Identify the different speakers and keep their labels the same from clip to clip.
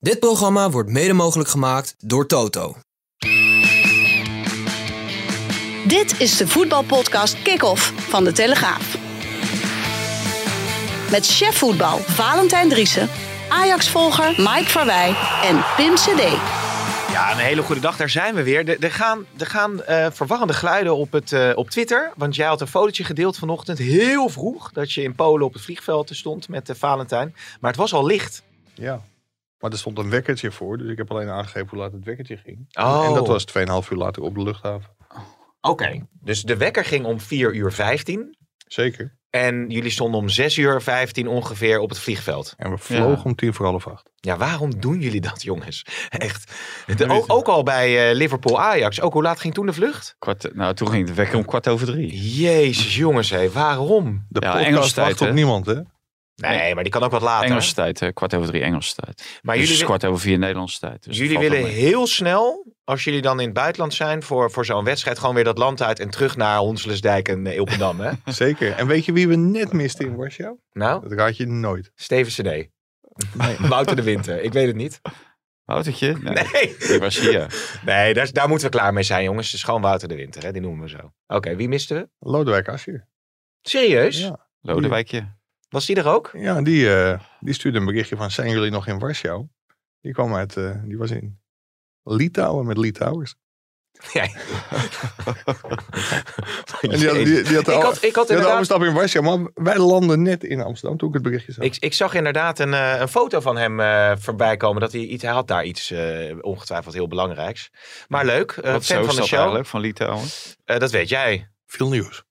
Speaker 1: Dit programma wordt mede mogelijk gemaakt door Toto.
Speaker 2: Dit is de voetbalpodcast Kick-Off van De Telegraaf. Met chef voetbal Valentijn Driessen, Ajax-volger Mike Verwij en Pim CD.
Speaker 3: Ja, een hele goede dag, daar zijn we weer. Er- Er gaan, er gaan eh, verwarrende geluiden op, het, eh, op Twitter. Want jij had een fotootje gedeeld vanochtend, heel vroeg, dat je in Polen op het vliegveld stond met eh, Valentijn. Maar het was al licht.
Speaker 4: Ja. Maar er stond een wekkertje voor, dus ik heb alleen aangegeven hoe laat het wekkertje ging.
Speaker 3: Oh.
Speaker 4: En dat was 2,5 uur later op de luchthaven.
Speaker 3: Oké. Dus de wekker ging om 4 uur 15.
Speaker 4: Zeker.
Speaker 3: En jullie stonden om 6 uur 15 ongeveer op het vliegveld.
Speaker 4: En we vlogen om tien voor half acht.
Speaker 3: Ja, waarom doen jullie dat, jongens? Echt. De-
Speaker 4: weet
Speaker 3: ook,
Speaker 4: het.
Speaker 3: ook al bij eh, Liverpool Ajax. Ook hoe laat ging toen de vlucht?
Speaker 5: Kwart, nou, toen ging het wekker om kwart over drie.
Speaker 3: Jezus, jongens, hé, waarom?
Speaker 4: De
Speaker 5: Ja,
Speaker 4: podcast
Speaker 5: Engelse tijd,
Speaker 4: wacht op
Speaker 5: hè?
Speaker 4: niemand, hè?
Speaker 3: Nee, maar die kan ook wat later.
Speaker 5: Engelse tijd, hè? kwart over drie Engelse tijd.
Speaker 3: Maar
Speaker 5: dus
Speaker 3: jullie,
Speaker 5: kwart over vier Nederlandse tijd. Dus
Speaker 3: jullie
Speaker 5: dat valt wel
Speaker 3: willen
Speaker 5: mee.
Speaker 3: heel snel, als jullie dan in het buitenland zijn voor, voor zo'n wedstrijd, gewoon weer dat land uit en terug naar Honslersdijk en eh, Ilpendam, hè?
Speaker 4: Zeker. En weet je wie we net misten in Warschau?
Speaker 3: Nou,
Speaker 4: Dat raad je nooit.
Speaker 3: Steven CD. Wouter de Winter, ik weet het niet.
Speaker 5: Woutertje? Nee.
Speaker 3: Nee,
Speaker 5: Ik was hier.
Speaker 3: nee daar, daar moeten we klaar mee zijn, jongens. Het is gewoon Wouter de Winter, hè? die noemen we zo. Oké, wie misten we?
Speaker 4: Lodewijk Asscher.
Speaker 3: Serieus?
Speaker 4: Ja.
Speaker 5: Lodewijkje.
Speaker 3: Was die er ook?
Speaker 4: Ja, die, eh, die stuurde een berichtje van zijn jullie nog in Warschau? Die kwam uit, eh, die was in Litouwen met Litouwers.
Speaker 3: Ja.
Speaker 4: En die had, die, die had de,
Speaker 3: ik
Speaker 4: al-
Speaker 3: had, ik had
Speaker 4: die had de
Speaker 3: inderdaad
Speaker 4: overstap in Warschau, maar wij landen net in Amsterdam toen ik het berichtje zag.
Speaker 3: Ik, ik zag inderdaad een, eh, een foto van hem eh, voorbij komen. Dat hij, iets, hij had daar iets eh, ongetwijfeld heel belangrijks. Maar leuk, eh,
Speaker 5: Wat zo
Speaker 3: fan
Speaker 5: is
Speaker 3: van de
Speaker 5: dat
Speaker 3: show.
Speaker 5: eigenlijk, van Nou, Litouwen.
Speaker 3: Eh, dat weet jij,
Speaker 4: Veel nieuws.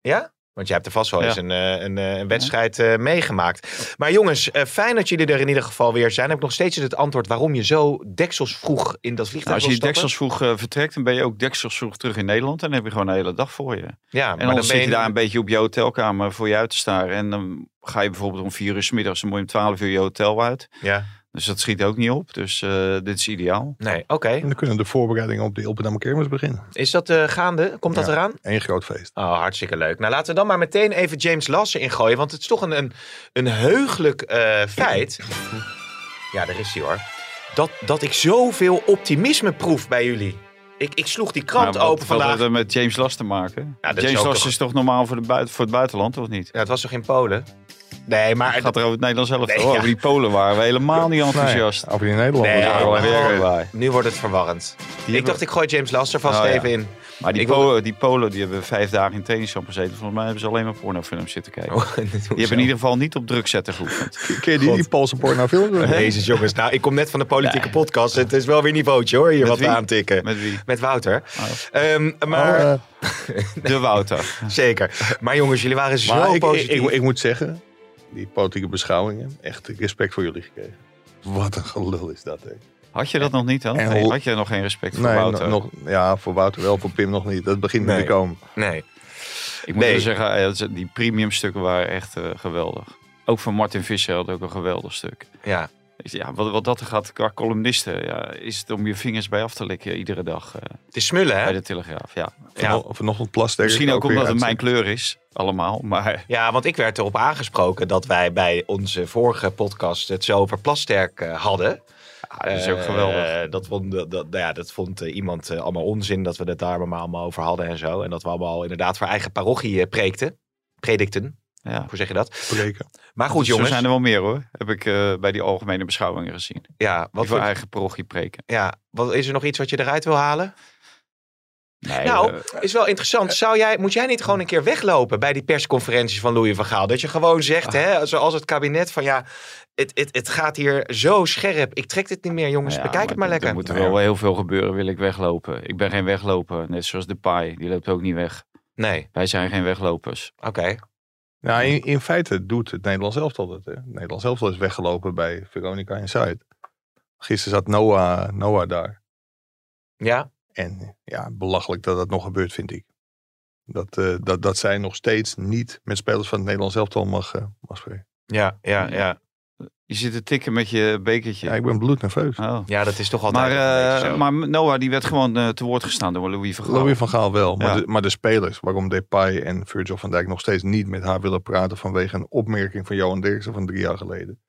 Speaker 3: ja? Want jij hebt er vast wel
Speaker 5: Ja.
Speaker 3: eens een, eh, een, eh, een wedstrijd eh, meegemaakt. Maar jongens, eh, fijn dat jullie er in ieder geval weer zijn. Heb ik nog steeds niet het antwoord waarom je zo deksels vroeg in dat
Speaker 5: Nou,
Speaker 3: vliegtuig
Speaker 5: als je
Speaker 3: wil stappen?
Speaker 5: deksels vroeg eh, vertrekt, dan ben je ook deksels vroeg terug in Nederland. En dan heb je gewoon een hele dag voor je.
Speaker 3: Ja,
Speaker 5: En
Speaker 3: maar
Speaker 5: dan
Speaker 3: dan ben
Speaker 5: zit
Speaker 3: je
Speaker 5: je daar een beetje op je hotelkamer voor je uit te staren. En dan ga je bijvoorbeeld om vier uur 's middags, dan moet je om twaalf uur je hotel uit.
Speaker 3: Ja,
Speaker 5: Dus dat schiet ook niet op. Dus eh, dit is ideaal.
Speaker 3: nee, oké.
Speaker 4: En dan kunnen de voorbereidingen op de Ilpendamme Kermis beginnen.
Speaker 3: Is dat eh, gaande? Komt dat
Speaker 4: Ja.
Speaker 3: eraan?
Speaker 4: Eén groot feest.
Speaker 3: Oh, hartstikke leuk. Nou, laten we dan maar meteen even James Lassen ingooien. Want het is toch een, een, een heugelijk eh, feit. Ja, daar is hij hoor. Dat, dat ik zoveel optimisme proef bij jullie. Ik, ik sloeg die krant
Speaker 5: Maar wat-
Speaker 3: open
Speaker 5: Wat
Speaker 3: vandaag.
Speaker 5: heeft Nou, dat met James Last te maken?
Speaker 3: Ja, dat is
Speaker 5: James
Speaker 3: ook
Speaker 5: Last
Speaker 3: toch-
Speaker 5: is toch normaal voor, de buiten, voor het buitenland, of niet?
Speaker 3: Ja, het was toch in Polen? Nee, maar...
Speaker 5: Het gaat er over het Nederlands zelf.
Speaker 3: Nee,
Speaker 5: oh,
Speaker 3: ja.
Speaker 5: over die Polen waren we helemaal niet enthousiast.
Speaker 4: Nee, over in Nederland.
Speaker 3: Nee,
Speaker 4: Ja,
Speaker 5: Daar
Speaker 3: maar-
Speaker 5: waren we
Speaker 3: Oh.
Speaker 5: weer bij.
Speaker 3: Nu wordt het verwarrend. Ik
Speaker 5: hebben-
Speaker 3: dacht, ik gooi James Lassen vast
Speaker 5: Oh, ja.
Speaker 3: even in.
Speaker 5: Maar die,
Speaker 3: Ik wil-
Speaker 5: Polen, die Polen die hebben vijf dagen in trainingskamp gezeten. Volgens mij hebben ze alleen maar pornofilms zitten kijken.
Speaker 4: Oh,
Speaker 5: die hebben in ieder geval niet op druk zetten geoefend.
Speaker 4: Ken je die, die Poolse pornofilm?
Speaker 3: Jezus jongens, nou ik kom net van de politieke podcast. Het is wel weer niveautje hoor, hier
Speaker 5: Met
Speaker 3: wat
Speaker 5: wie?
Speaker 3: we aantikken. Met,
Speaker 5: Met wie? Oh,
Speaker 3: Wouter. Ehm, maar,
Speaker 4: Eh,
Speaker 5: De Wouter.
Speaker 3: zeker. Maar jongens, jullie waren zo
Speaker 4: maar ik, ik,
Speaker 3: positief.
Speaker 4: ik, ik moet zeggen, die politieke beschouwingen, echt respect voor jullie gekregen. Wat een gelul is dat, hè?
Speaker 5: Had je dat nog niet dan?
Speaker 4: En
Speaker 5: Nee,
Speaker 4: hoe-
Speaker 5: had je nog geen respect voor
Speaker 4: Nee,
Speaker 5: Wouter?
Speaker 4: nog, ja, voor Wouter wel, voor Pim nog niet. Dat begint nu
Speaker 3: Nee.
Speaker 4: te komen.
Speaker 3: Nee.
Speaker 5: Ik moet
Speaker 3: Nee.
Speaker 5: wel zeggen, eh, dat ze- die premium stukken waren echt eh, geweldig. Ook van Martin Visser had ook een geweldig stuk.
Speaker 3: Ja,
Speaker 5: Ik zei, Ja, wat, wat dat er gaat qua columnisten, ja, is het om je vingers bij af te likken iedere dag eh,
Speaker 3: het is smullen,
Speaker 5: bij
Speaker 3: hè?
Speaker 5: de Telegraaf. Ja.
Speaker 3: Ja.
Speaker 4: Ja. Vanochtend plaster.
Speaker 5: Misschien ook omdat het mijn kleur is, allemaal. Maar
Speaker 3: Ja, want ik werd erop aangesproken dat wij bij onze vorige podcast het zo over plasterk eh, hadden.
Speaker 5: ja, dat is ook
Speaker 3: Eh,
Speaker 5: geweldig.
Speaker 3: dat vond, dat, dat, nou ja, dat vond eh, iemand eh, allemaal onzin dat we het daar maar allemaal over hadden en zo. En dat we allemaal inderdaad voor eigen parochie eh, preekten. Predikten,
Speaker 5: Ja.
Speaker 3: hoe zeg je dat?
Speaker 4: Breken.
Speaker 3: Maar goed,
Speaker 5: Dus
Speaker 3: jongens.
Speaker 5: Zo zijn er wel meer hoor. Heb ik eh, bij die algemene beschouwingen gezien.
Speaker 3: Ja, wat
Speaker 5: Wat voor
Speaker 3: vond-
Speaker 5: eigen parochie preken.
Speaker 3: ja, wat, is er nog iets wat je eruit wil halen?
Speaker 5: Nee,
Speaker 3: nou,
Speaker 5: eh,
Speaker 3: is wel interessant. Zou jij, moet jij niet gewoon een keer weglopen bij die persconferenties van Louis van Gaal? Dat je gewoon zegt,
Speaker 5: Ah.
Speaker 3: hè, zoals het kabinet, van ja, het, het, het gaat hier zo scherp. Ik trek dit niet meer, jongens.
Speaker 5: nou ja,
Speaker 3: Bekijk het maar
Speaker 5: er-
Speaker 3: lekker.
Speaker 5: Er moet er wel heel veel gebeuren, wil ik weglopen. Ik ben geen wegloper. Net zoals Depay, die loopt ook niet weg.
Speaker 3: Nee,
Speaker 5: Wij zijn geen weglopers.
Speaker 3: oké.
Speaker 4: Nou, in, in feite doet het Nederlands elftal dat. Hè. Het Nederlands elftal is weggelopen bij Veronica en Zuid. Gisteren zat Noah, Noah daar.
Speaker 3: Ja,
Speaker 4: En ja, belachelijk dat dat nog gebeurt, vind ik. Dat, eh, dat, dat zij nog steeds niet met spelers van het Nederlands elftal mag, eh, mag spelen.
Speaker 3: ja, ja, ja.
Speaker 5: Je zit te tikken met je bekertje.
Speaker 4: Ja, ik ben bloednerveus.
Speaker 5: Oh.
Speaker 3: Ja, dat is toch
Speaker 5: Maar,
Speaker 3: altijd een beetje
Speaker 5: eh,
Speaker 3: zo.
Speaker 5: maar Noah die werd gewoon eh, te woord gestaan door Louis van Gaal.
Speaker 4: Louis van Gaal wel, maar,
Speaker 5: Ja.
Speaker 4: de, maar de spelers, waarom Depay en Virgil van Dijk nog steeds niet met haar willen praten vanwege een opmerking van Johan Derksen van drie jaar geleden.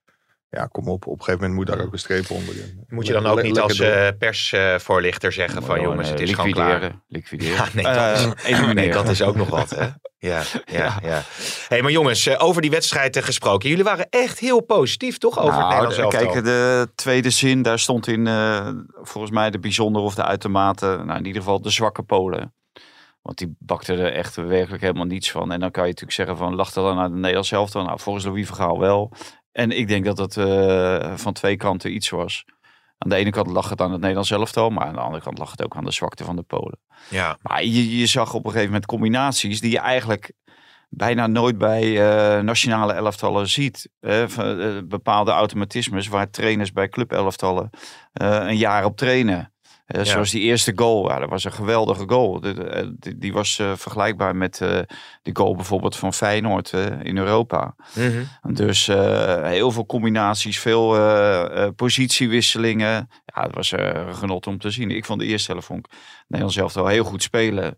Speaker 4: Ja, kom op, op een gegeven moment moet daar ook een streep onder.
Speaker 3: Moet je dan ook niet als eh, persvoorlichter zeggen van
Speaker 5: Gewoon,
Speaker 3: jongens,
Speaker 5: eh,
Speaker 3: het is gewoon
Speaker 5: liquideren,
Speaker 3: klaar.
Speaker 5: Liquideren.
Speaker 3: Ja, nee, dat is-
Speaker 5: Eh, elimineren.
Speaker 3: Nee, dat is ook nog wat, hè? Ja, ja, ja. hey, maar jongens, eh, over die wedstrijd eh, gesproken. Jullie waren echt heel positief, toch? Over eh, het
Speaker 5: nou,
Speaker 3: Nederlands
Speaker 5: de-
Speaker 3: elftal.
Speaker 5: kijk, de tweede zin, daar stond in eh, volgens mij de bijzonder of de uitermate, nou in ieder geval de zwakke Polen. Want die bakte er echt werkelijk helemaal niets van. En dan kan je natuurlijk zeggen van, lachte dan naar de Nederlands elftal. Nou, volgens Louis van Gaal wel. En ik denk dat dat eh, van twee kanten iets was. Aan de ene kant lag het aan het Nederlands elftal, maar aan de andere kant lag het ook aan de zwakte van de Polen.
Speaker 3: Ja,
Speaker 5: Maar je, je zag op een gegeven moment combinaties die je eigenlijk bijna nooit bij eh, nationale elftallen ziet. hè. Van, eh, bepaalde automatismes waar trainers bij clubelftallen eh, een jaar op trainen. Eh,
Speaker 3: Ja.
Speaker 5: Zoals die eerste goal, ja, dat was een geweldige goal. De- de- eh, die, die was eh, vergelijkbaar met eh, de goal bijvoorbeeld van Feyenoord eh, in Europa.
Speaker 3: Mhm.
Speaker 5: Dus eh, heel veel combinaties, veel eh, eh, positiewisselingen. Ja, het was eh, een genot om te zien. Ik vond de eerste helft vond ik Nederland zelf wel heel goed spelen.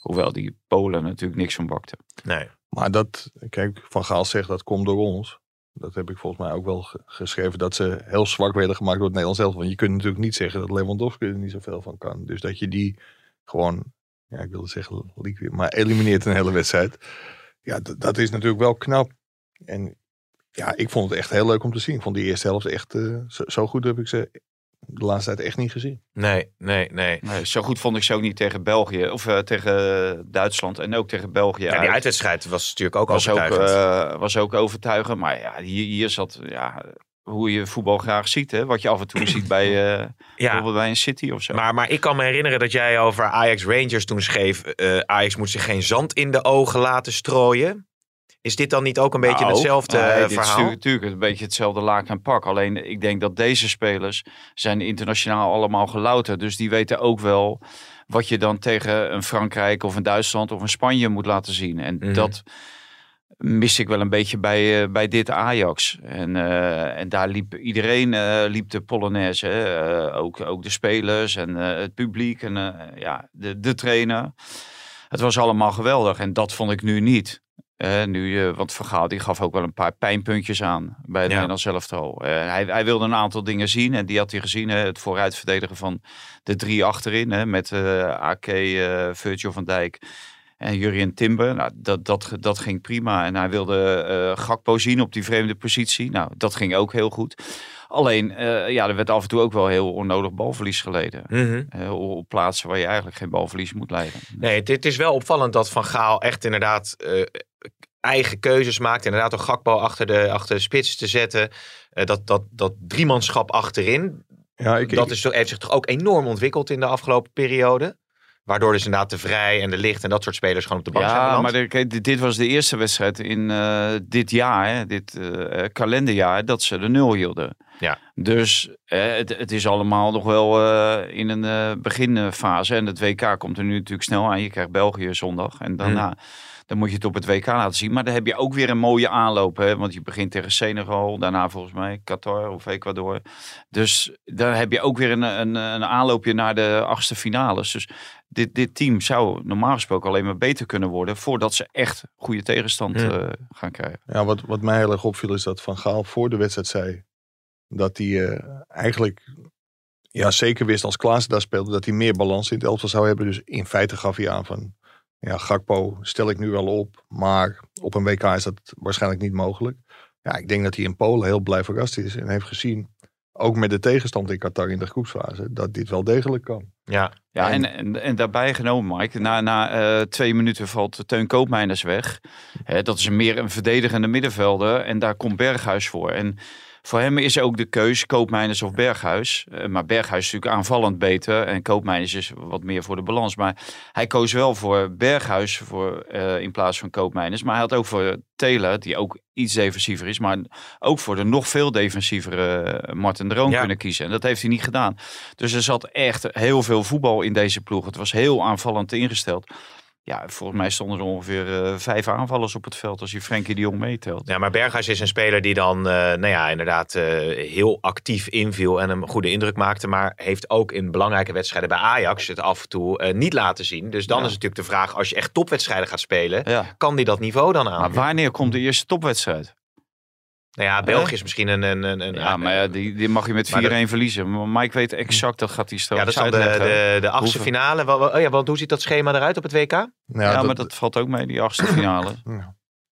Speaker 5: Hoewel die Polen natuurlijk niks van bakten.
Speaker 3: nee.
Speaker 4: Maar dat, kijk, Van Gaal zegt dat komt door ons. Dat heb ik volgens mij ook wel ge- geschreven. Dat ze heel zwak werden gemaakt door het Nederlands elftal. Want je kunt natuurlijk niet zeggen dat Lewandowski er niet zoveel van kan. Dus dat je die gewoon, ja, ik wilde zeggen liquid, maar elimineert een hele wedstrijd. Ja, d- dat is natuurlijk wel knap. En ja, ik vond het echt heel leuk om te zien. Ik vond die eerste helft echt, eh, zo, zo goed heb ik ze de laatste tijd echt niet gezien.
Speaker 3: Nee, nee, nee.
Speaker 5: Nee, zo goed vond ik ze ook niet tegen België. Of eh, tegen Duitsland en ook tegen België.
Speaker 3: Ja, die
Speaker 5: uit.
Speaker 3: uitwedstrijd was natuurlijk ook
Speaker 5: was ook,
Speaker 3: overtuigend.
Speaker 5: eh, was ook overtuigend. Maar ja, hier, hier zat ja, hoe je voetbal graag ziet. Hè? Wat je af en toe ziet bij, eh,
Speaker 3: ja.
Speaker 5: bijvoorbeeld bij een City of zo.
Speaker 3: Maar, maar ik kan me herinneren dat jij over Ajax Rangers toen schreef... eh, Ajax moet zich geen zand in de ogen laten strooien. Is dit dan niet ook een beetje
Speaker 5: Nou,
Speaker 3: hetzelfde
Speaker 5: nee,
Speaker 3: eh,
Speaker 5: dit is
Speaker 3: verhaal?
Speaker 5: natuurlijk- natuurlijk een beetje hetzelfde laak en pak. Alleen ik denk dat deze spelers zijn internationaal allemaal gelouterd. Dus die weten ook wel wat je dan tegen een Frankrijk of een Duitsland of een Spanje moet laten zien. En
Speaker 3: Mhm.
Speaker 5: dat mis ik wel een beetje bij, eh, bij dit Ajax. En, eh, en daar liep iedereen eh, liep de Polonaise. hè. Eh, ook, ook de spelers en eh, het publiek en eh, ja, de, de trainer. Het was allemaal geweldig en dat vond ik nu niet. Eh, nu, eh, want Vergaal die gaf ook wel een paar pijnpuntjes aan bij het
Speaker 3: Ja.
Speaker 5: Nederlands elftal. Eh, hij, hij wilde een aantal dingen zien en die had hij gezien. hè. het vooruitverdedigen van de drie achterin hè, met eh AK, eh, Virgil van Dijk en Jurien Timber. Nou, dat, dat, dat ging prima. En hij wilde eh, Gakpo zien op die vreemde positie. Nou, dat ging ook heel goed. Alleen, eh, ja, er werd af en toe ook wel heel onnodig balverlies geleden.
Speaker 3: Mhm.
Speaker 5: Eh, op plaatsen waar je eigenlijk geen balverlies moet leiden.
Speaker 3: Nee, dit is wel opvallend dat Van Gaal echt inderdaad eh, eigen keuzes maakt. Inderdaad, door Gakpo achter de, achter de spits te zetten. Eh, dat, dat, dat driemanschap achterin.
Speaker 4: Ja, ik,
Speaker 3: dat is, zo- heeft zich toch ook enorm ontwikkeld in de afgelopen periode. Waardoor dus inderdaad de Vrij en de Licht en dat soort spelers gewoon op de bank zijn
Speaker 5: Ja,
Speaker 3: beland.
Speaker 5: maar de- kijk, dit, dit was de eerste wedstrijd in eh, dit jaar, hè, dit eh, eh, kalenderjaar, dat ze de nul hielden.
Speaker 3: Ja.
Speaker 5: Dus eh, het, het is allemaal nog wel eh, in een eh, beginfase. En het WK komt er nu natuurlijk snel aan. Je krijgt België zondag
Speaker 3: Hmm.
Speaker 5: en daarna... Dan moet je het op het WK laten zien. Maar dan heb je ook weer een mooie aanloop. Hè? Want je begint tegen Senegal. Daarna volgens mij Qatar of Ecuador. Dus dan heb je ook weer een, een, een aanloopje naar de achtste finales. Dus dit, dit team zou normaal gesproken alleen maar beter kunnen worden. voordat ze echt goede tegenstand
Speaker 3: Ja.
Speaker 5: eh, gaan krijgen.
Speaker 4: Ja, wat, wat mij heel erg opviel is dat Van Gaal voor de wedstrijd zei dat hij eh, eigenlijk ja, zeker wist als Klaassen daar speelde dat hij meer balans in het elftal zou hebben. Dus in feite gaf hij aan van ja, Gakpo stel ik nu wel op, maar op een WK is dat waarschijnlijk niet mogelijk. Ja, ik denk dat hij in Polen heel blij verrast is en heeft gezien, ook met de tegenstand in Qatar in de groepsfase, dat dit wel degelijk kan.
Speaker 3: ja.
Speaker 5: Ja,
Speaker 4: En-
Speaker 5: en, en, en daarbij genomen, Mike. Na, na eh, twee minuten valt Teun Koopmeiners weg. Hè, dat is meer een verdedigende middenvelder. En daar komt Berghuis voor. En Voor hem is ook de keus Koopmeiners of Berghuis. Eh, maar Berghuis is natuurlijk aanvallend beter. En Koopmeiners is wat meer voor de balans. Maar hij koos wel voor Berghuis voor, eh, in plaats van Koopmeiners. Maar hij had ook voor Taylor, die ook iets defensiever is. Maar ook voor de nog veel defensievere eh, Martin Droom
Speaker 3: Ja.
Speaker 5: kunnen kiezen. En dat heeft hij niet gedaan. Dus er zat echt heel veel voetbal in deze ploeg. Het was heel aanvallend ingesteld. Ja, volgens mij stonden er ongeveer eh, vijf aanvallers op het veld als je Frenkie de Jong meetelt.
Speaker 3: Ja, maar Berghuis is een speler die dan, eh, nou ja, inderdaad eh, heel actief inviel en een goede indruk maakte. Maar heeft ook in belangrijke wedstrijden bij Ajax het af en toe eh, niet laten zien. Dus dan
Speaker 5: Ja.
Speaker 3: is natuurlijk de vraag, als je echt topwedstrijden gaat spelen,
Speaker 5: Ja.
Speaker 3: kan die dat niveau dan aan?
Speaker 5: Maar wanneer komt de eerste topwedstrijd?
Speaker 3: Nou ja, België is misschien een... een, een, een-
Speaker 5: Ja, maar ja, die, die mag je met 4-1
Speaker 3: Maar dat-
Speaker 5: verliezen. Maar Mike weet exact, dat gaat hij straks
Speaker 3: Ja, dat is dan de,
Speaker 5: uitleggen.
Speaker 3: de, de achtste
Speaker 5: Hoeveel-
Speaker 3: finale. Wa- wa- Oh ja, want hoe ziet dat schema eruit op het WK?
Speaker 5: ja,
Speaker 4: Nou,
Speaker 5: maar dat valt ook mee, die achtste finale.
Speaker 3: weet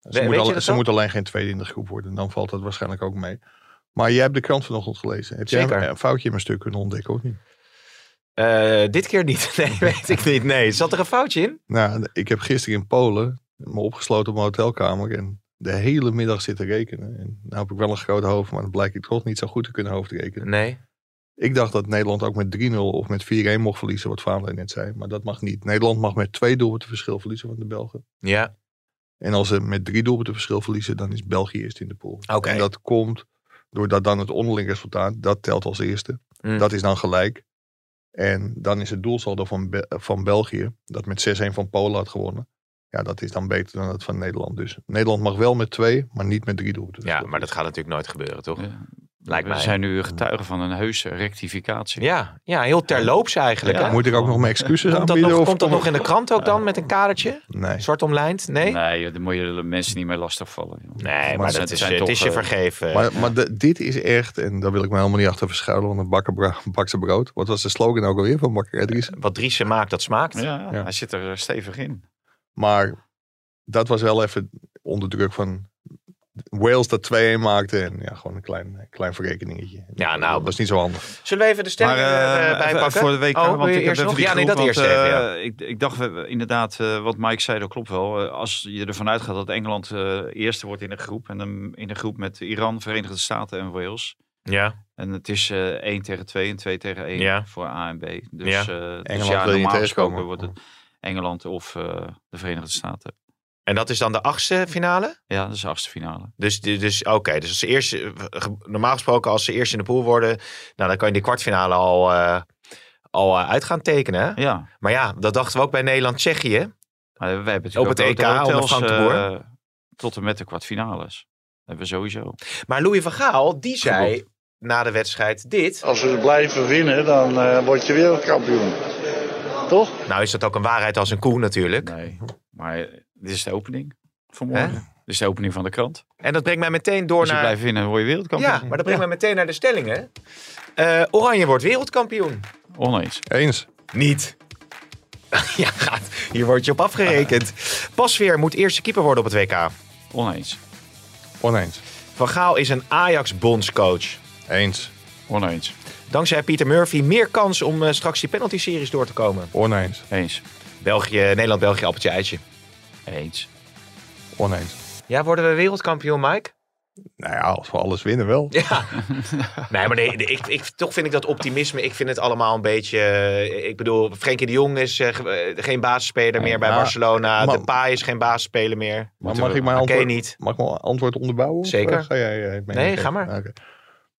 Speaker 4: Ze, moet
Speaker 3: je
Speaker 4: alle-
Speaker 3: dat
Speaker 4: ze
Speaker 3: ook?
Speaker 4: moet alleen geen tweede in de groep worden. Dan valt dat waarschijnlijk ook mee. Maar jij hebt de krant vanochtend gelezen. Heb jij
Speaker 3: Zeker.
Speaker 4: een- een foutje in mijn stuk kunnen ontdekken of niet?
Speaker 3: Eh, dit keer niet. Nee, weet ik niet. Nee, zat er een foutje in?
Speaker 4: Nou, ik heb gisteren in Polen me opgesloten op mijn hotelkamer en de hele middag zitten rekenen. En nou heb ik wel een groot hoofd, maar dan blijkt ik toch niet zo goed te kunnen hoofdrekenen.
Speaker 3: Nee.
Speaker 4: Ik dacht dat Nederland ook met 3-0 of met 4-1 mocht verliezen, wat Vaandel net zei. Maar dat mag niet. Nederland mag met twee doelpunten verschil verliezen van de Belgen.
Speaker 3: Ja.
Speaker 4: En als ze met drie doelpunten verschil verliezen, dan is België eerst in de pool.
Speaker 3: Oké.
Speaker 4: En dat komt doordat dan het onderling resultaat, dat telt als eerste.
Speaker 3: Mm.
Speaker 4: Dat is dan gelijk. En dan is het doelsaldo van, Be- van België, dat met 6-1 van Polen had gewonnen. Ja, dat is dan beter dan dat van Nederland. Dus Nederland mag wel met twee, maar niet met drie doelpunten.
Speaker 3: Ja, maar dat gaat natuurlijk nooit gebeuren, toch?
Speaker 5: Ja.
Speaker 3: Lijkt
Speaker 5: We
Speaker 3: mij.
Speaker 5: zijn nu getuigen van een heuse rectificatie.
Speaker 3: Ja, ja, heel terloops eigenlijk.
Speaker 5: Ja.
Speaker 3: hè?
Speaker 4: Moet ik ook nog mijn excuses
Speaker 3: Komt dat,
Speaker 4: aanbieden?
Speaker 3: nog,
Speaker 4: of
Speaker 3: komt dat
Speaker 4: kom
Speaker 3: nog in de krant ook dan met een kadertje?
Speaker 4: ik- Nee.
Speaker 3: Zwart omlijnd? Nee? Nee,
Speaker 5: Nee, joh, daar moet je de mensen niet mee lastigvallen. joh.
Speaker 3: maar,
Speaker 4: Maar
Speaker 3: dat
Speaker 5: het
Speaker 3: is,
Speaker 5: zijn
Speaker 3: eh, het
Speaker 5: toch,
Speaker 3: is je
Speaker 5: eh,
Speaker 3: vergeven.
Speaker 4: Maar, maar de- dit is echt, en daar wil ik me helemaal niet achter verschuilen, want een bakker bra- bakse brood. Wat was de slogan ook alweer van Bakker Edries?
Speaker 3: Wat Driessen maakt, dat smaakt.
Speaker 5: Ja,
Speaker 4: Ja.
Speaker 5: hij zit er eh, stevig in.
Speaker 4: Maar dat was wel even onder druk van Wales dat 2-1 maakte. En ja, gewoon een klein, klein verrekeningetje.
Speaker 3: Ja, nou,
Speaker 4: dat was niet zo handig.
Speaker 3: Zullen we even de sterren
Speaker 5: eh,
Speaker 3: eh,
Speaker 5: even
Speaker 3: bijpakken?
Speaker 5: Voor de WK,
Speaker 3: Oh, wil
Speaker 5: want
Speaker 3: je
Speaker 5: ik heb
Speaker 3: eerst
Speaker 5: even
Speaker 3: nog?
Speaker 5: die
Speaker 3: Ja, nee,
Speaker 5: groep,
Speaker 3: dat eerst
Speaker 5: want,
Speaker 3: even,
Speaker 5: eh,
Speaker 3: ja.
Speaker 5: ik, ik dacht we- we- inderdaad, eh, wat Mike zei, dat klopt wel. Eh, als je ervan uitgaat dat Engeland eh, eerste wordt in een groep. En dan in een groep met Iran, Verenigde Staten en Wales.
Speaker 3: Ja,
Speaker 5: En het is eh 1 tegen 2 en 2 tegen 1
Speaker 3: Ja.
Speaker 5: voor A en B. Dus,
Speaker 3: Ja.
Speaker 5: ja. dus
Speaker 4: Engeland
Speaker 5: ja,
Speaker 4: wil je
Speaker 5: normaal gesproken
Speaker 4: tegenkomen.
Speaker 5: wordt het Engeland of eh, de Verenigde Staten.
Speaker 3: en dat is dan de achtste finale?
Speaker 5: Ja, dat is de achtste finale.
Speaker 3: Dus, dus oké, dus als ze eerst, eh, ge- normaal gesproken als ze eerst in de pool worden, nou, dan kan je die kwartfinale al, eh, al eh, uit gaan tekenen. hè?
Speaker 5: Ja,
Speaker 3: Maar ja, dat dachten we ook bij Nederland-Tsjechië.
Speaker 5: maar wij hebben
Speaker 3: Op
Speaker 5: natuurlijk
Speaker 3: het
Speaker 5: ook de
Speaker 3: EK onder
Speaker 5: hotels,
Speaker 3: Frank de Boer.
Speaker 5: eh, tot en met de kwartfinales. Dat hebben we sowieso.
Speaker 3: Maar Louis van Gaal, die zei na de wedstrijd dit.
Speaker 6: Als we blijven winnen, dan eh, word je wereldkampioen. Toch?
Speaker 3: Nou is dat ook een waarheid als een koe natuurlijk.
Speaker 5: Nee, maar dit is de opening vanmorgen.
Speaker 3: Hè?
Speaker 5: Dit is de opening van de krant.
Speaker 3: En dat brengt mij meteen door
Speaker 5: Als Dus je
Speaker 3: naar...
Speaker 5: blijft winnen, word je wereldkampioen.
Speaker 3: Ja, maar dat brengt mij meteen naar de stellingen. Eh, Oranje wordt wereldkampioen.
Speaker 5: Oneens.
Speaker 4: Eens.
Speaker 3: Niet. ja, gaat. hier word je op afgerekend. Pasveer moet eerste keeper worden op het WK.
Speaker 5: Oneens.
Speaker 4: Oneens.
Speaker 3: Van Gaal is een Ajax-bondscoach.
Speaker 4: Eens.
Speaker 5: Oneens.
Speaker 3: Dankzij Pieter Murphy meer kans om eh, straks die penalty-series door te komen.
Speaker 4: Oneens.
Speaker 5: Eens.
Speaker 3: België, Nederland, België, appeltje, eitje.
Speaker 5: Eens.
Speaker 4: Oneens.
Speaker 3: Ja, worden we wereldkampioen, Mike?
Speaker 4: Nou ja, als we alles winnen wel.
Speaker 3: Ja. nee, maar nee, nee, ik, ik, toch vind ik dat optimisme. Ik vind het allemaal een beetje. eh, Ik bedoel, Frenkie de Jong is eh, ge- eh, geen basisspeler meer bij
Speaker 4: maar-
Speaker 3: Barcelona.
Speaker 4: maar-
Speaker 3: De Pa is geen basisspeler meer.
Speaker 4: Maar
Speaker 5: Moeten
Speaker 4: mag
Speaker 5: we-
Speaker 4: ik mijn
Speaker 3: Oké,
Speaker 4: antwoord,
Speaker 3: niet.
Speaker 4: mag ik mijn antwoord onderbouwen? Of,
Speaker 3: Zeker.
Speaker 4: eh, ga jij, eh, het mee-
Speaker 3: Nee, ga maar.
Speaker 4: Oké.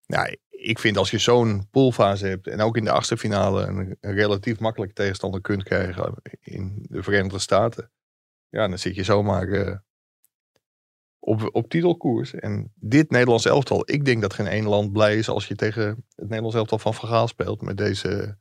Speaker 4: Nou, ik vind als je zo'n poolfase hebt en ook in de achtste finale een, een relatief makkelijke tegenstander kunt krijgen in de Verenigde Staten. Ja, dan zit je zomaar eh, op, op titelkoers. En dit Nederlands elftal, ik denk dat geen één land blij is als je tegen het Nederlands elftal van Vergaal speelt met deze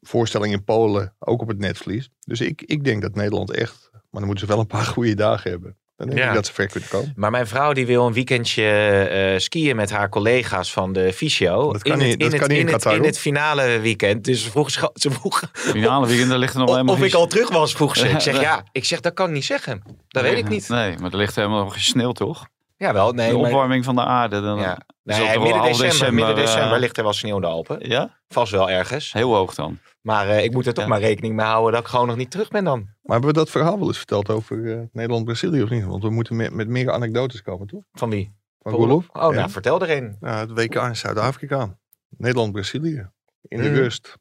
Speaker 4: voorstelling in Polen, ook op het netvlies. Dus ik, ik denk dat Nederland echt, maar dan moeten ze wel een paar goede dagen hebben. Dan denk
Speaker 3: Ja.
Speaker 4: ik dat ze ver kunnen komen.
Speaker 3: Maar mijn vrouw die wil een weekendje eh, skiën met haar collega's van de fysio.
Speaker 4: Dat kan
Speaker 3: het-
Speaker 4: niet- dat
Speaker 3: het-
Speaker 4: kan niet in
Speaker 3: het,
Speaker 4: Qatar,
Speaker 3: in
Speaker 4: hoor.
Speaker 3: het finale weekend. Dus ze vroeg, scha- ze vroeg
Speaker 5: Finale weekend, daar ligt er nog
Speaker 3: of,
Speaker 5: helemaal
Speaker 3: of ik
Speaker 5: geen-
Speaker 3: al terug was, vroeg ze. Ik zeg
Speaker 5: Ja.
Speaker 3: ja, ik zeg dat kan ik niet zeggen. Dat weet ik niet.
Speaker 5: Nee, maar er ligt helemaal nog geen sneeuw, toch?
Speaker 3: Jawel, nee.
Speaker 5: de
Speaker 3: maar-
Speaker 5: opwarming van de aarde. Dan,
Speaker 3: ja.
Speaker 5: is
Speaker 3: Nee,
Speaker 5: dat toch wel
Speaker 3: midden
Speaker 5: half
Speaker 3: december, midden
Speaker 5: eh,
Speaker 3: december ligt er wel sneeuw in de Alpen.
Speaker 5: Ja?
Speaker 3: Vast wel ergens.
Speaker 5: Heel hoog dan.
Speaker 3: Maar eh, ik moet er toch
Speaker 5: Ja.
Speaker 3: maar rekening mee houden dat ik gewoon nog niet terug ben dan.
Speaker 4: Maar hebben we dat verhaal wel eens verteld over eh, Nederland-Brazilië of niet? Want we moeten met, met meer anekdotes komen, toch?
Speaker 3: Van wie?
Speaker 4: Maar Roelof?
Speaker 3: Oh, nou,
Speaker 4: Ja.
Speaker 3: vertel er een.
Speaker 4: Ja, het WK in Zuid-Afrika. Nederland-Brazilië. In de
Speaker 3: Mm.
Speaker 4: rust.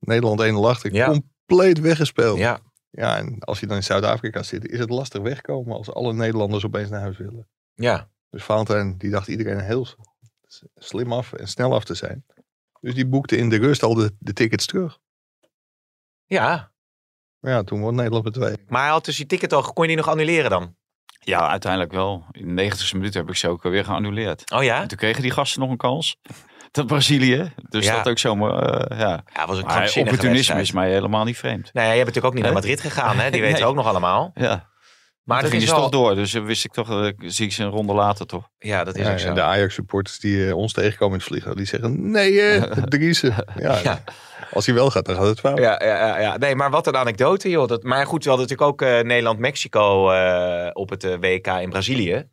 Speaker 4: Nederland 1 lacht.
Speaker 3: Ja.
Speaker 4: Compleet weggespeeld. Ja.
Speaker 3: Ja,
Speaker 4: en als je dan in Zuid-Afrika zit, is het lastig wegkomen als alle Nederlanders opeens naar huis willen.
Speaker 3: ja.
Speaker 4: Dus Valentijn, die dacht iedereen heel s- slim af en snel af te zijn. Dus die boekte in de rust al de, de tickets terug.
Speaker 3: Ja,
Speaker 4: Maar ja, toen won Nederland met twee.
Speaker 3: maar hij had dus die ticket al, kon je die nog annuleren dan?
Speaker 5: Ja, uiteindelijk wel. In de 90 minuut heb ik ze ook weer geannuleerd.
Speaker 3: Oh ja?
Speaker 5: En toen kregen die gasten nog een kans. Dat Brazilië. Dus
Speaker 3: Ja.
Speaker 5: dat ook zomaar. eh, ja.
Speaker 3: Ja, was een
Speaker 5: Maar
Speaker 3: krankzinnige
Speaker 5: opportunisme
Speaker 3: wedstrijd.
Speaker 5: is mij helemaal niet vreemd.
Speaker 3: Nou ja, jij bent natuurlijk ook niet
Speaker 5: Hè?
Speaker 3: naar Madrid gegaan, hè? Die
Speaker 5: Nee.
Speaker 3: weten we ook nog allemaal.
Speaker 5: Ja.
Speaker 3: Maar
Speaker 5: Maar
Speaker 3: het
Speaker 5: toen ging
Speaker 3: is
Speaker 5: ze toch
Speaker 3: wel...
Speaker 5: door. Dus eh, wist ik toch, eh, zie ik ze een ronde later toch.
Speaker 3: Ja, dat is
Speaker 4: Ja,
Speaker 3: ook zo.
Speaker 4: en de Ajax-supporters die eh, ons tegenkomen in het vliegtuig, die zeggen, nee, eh, de Driessen. Ja,
Speaker 3: Ja.
Speaker 4: Als hij wel gaat, dan gaat het
Speaker 5: Oh.
Speaker 4: fout.
Speaker 3: Ja, ja, ja, ja. Nee, maar wat een anekdote, joh. Dat, maar goed, we hadden natuurlijk ook eh, Nederland-Mexico eh, op het eh, WK in Brazilië.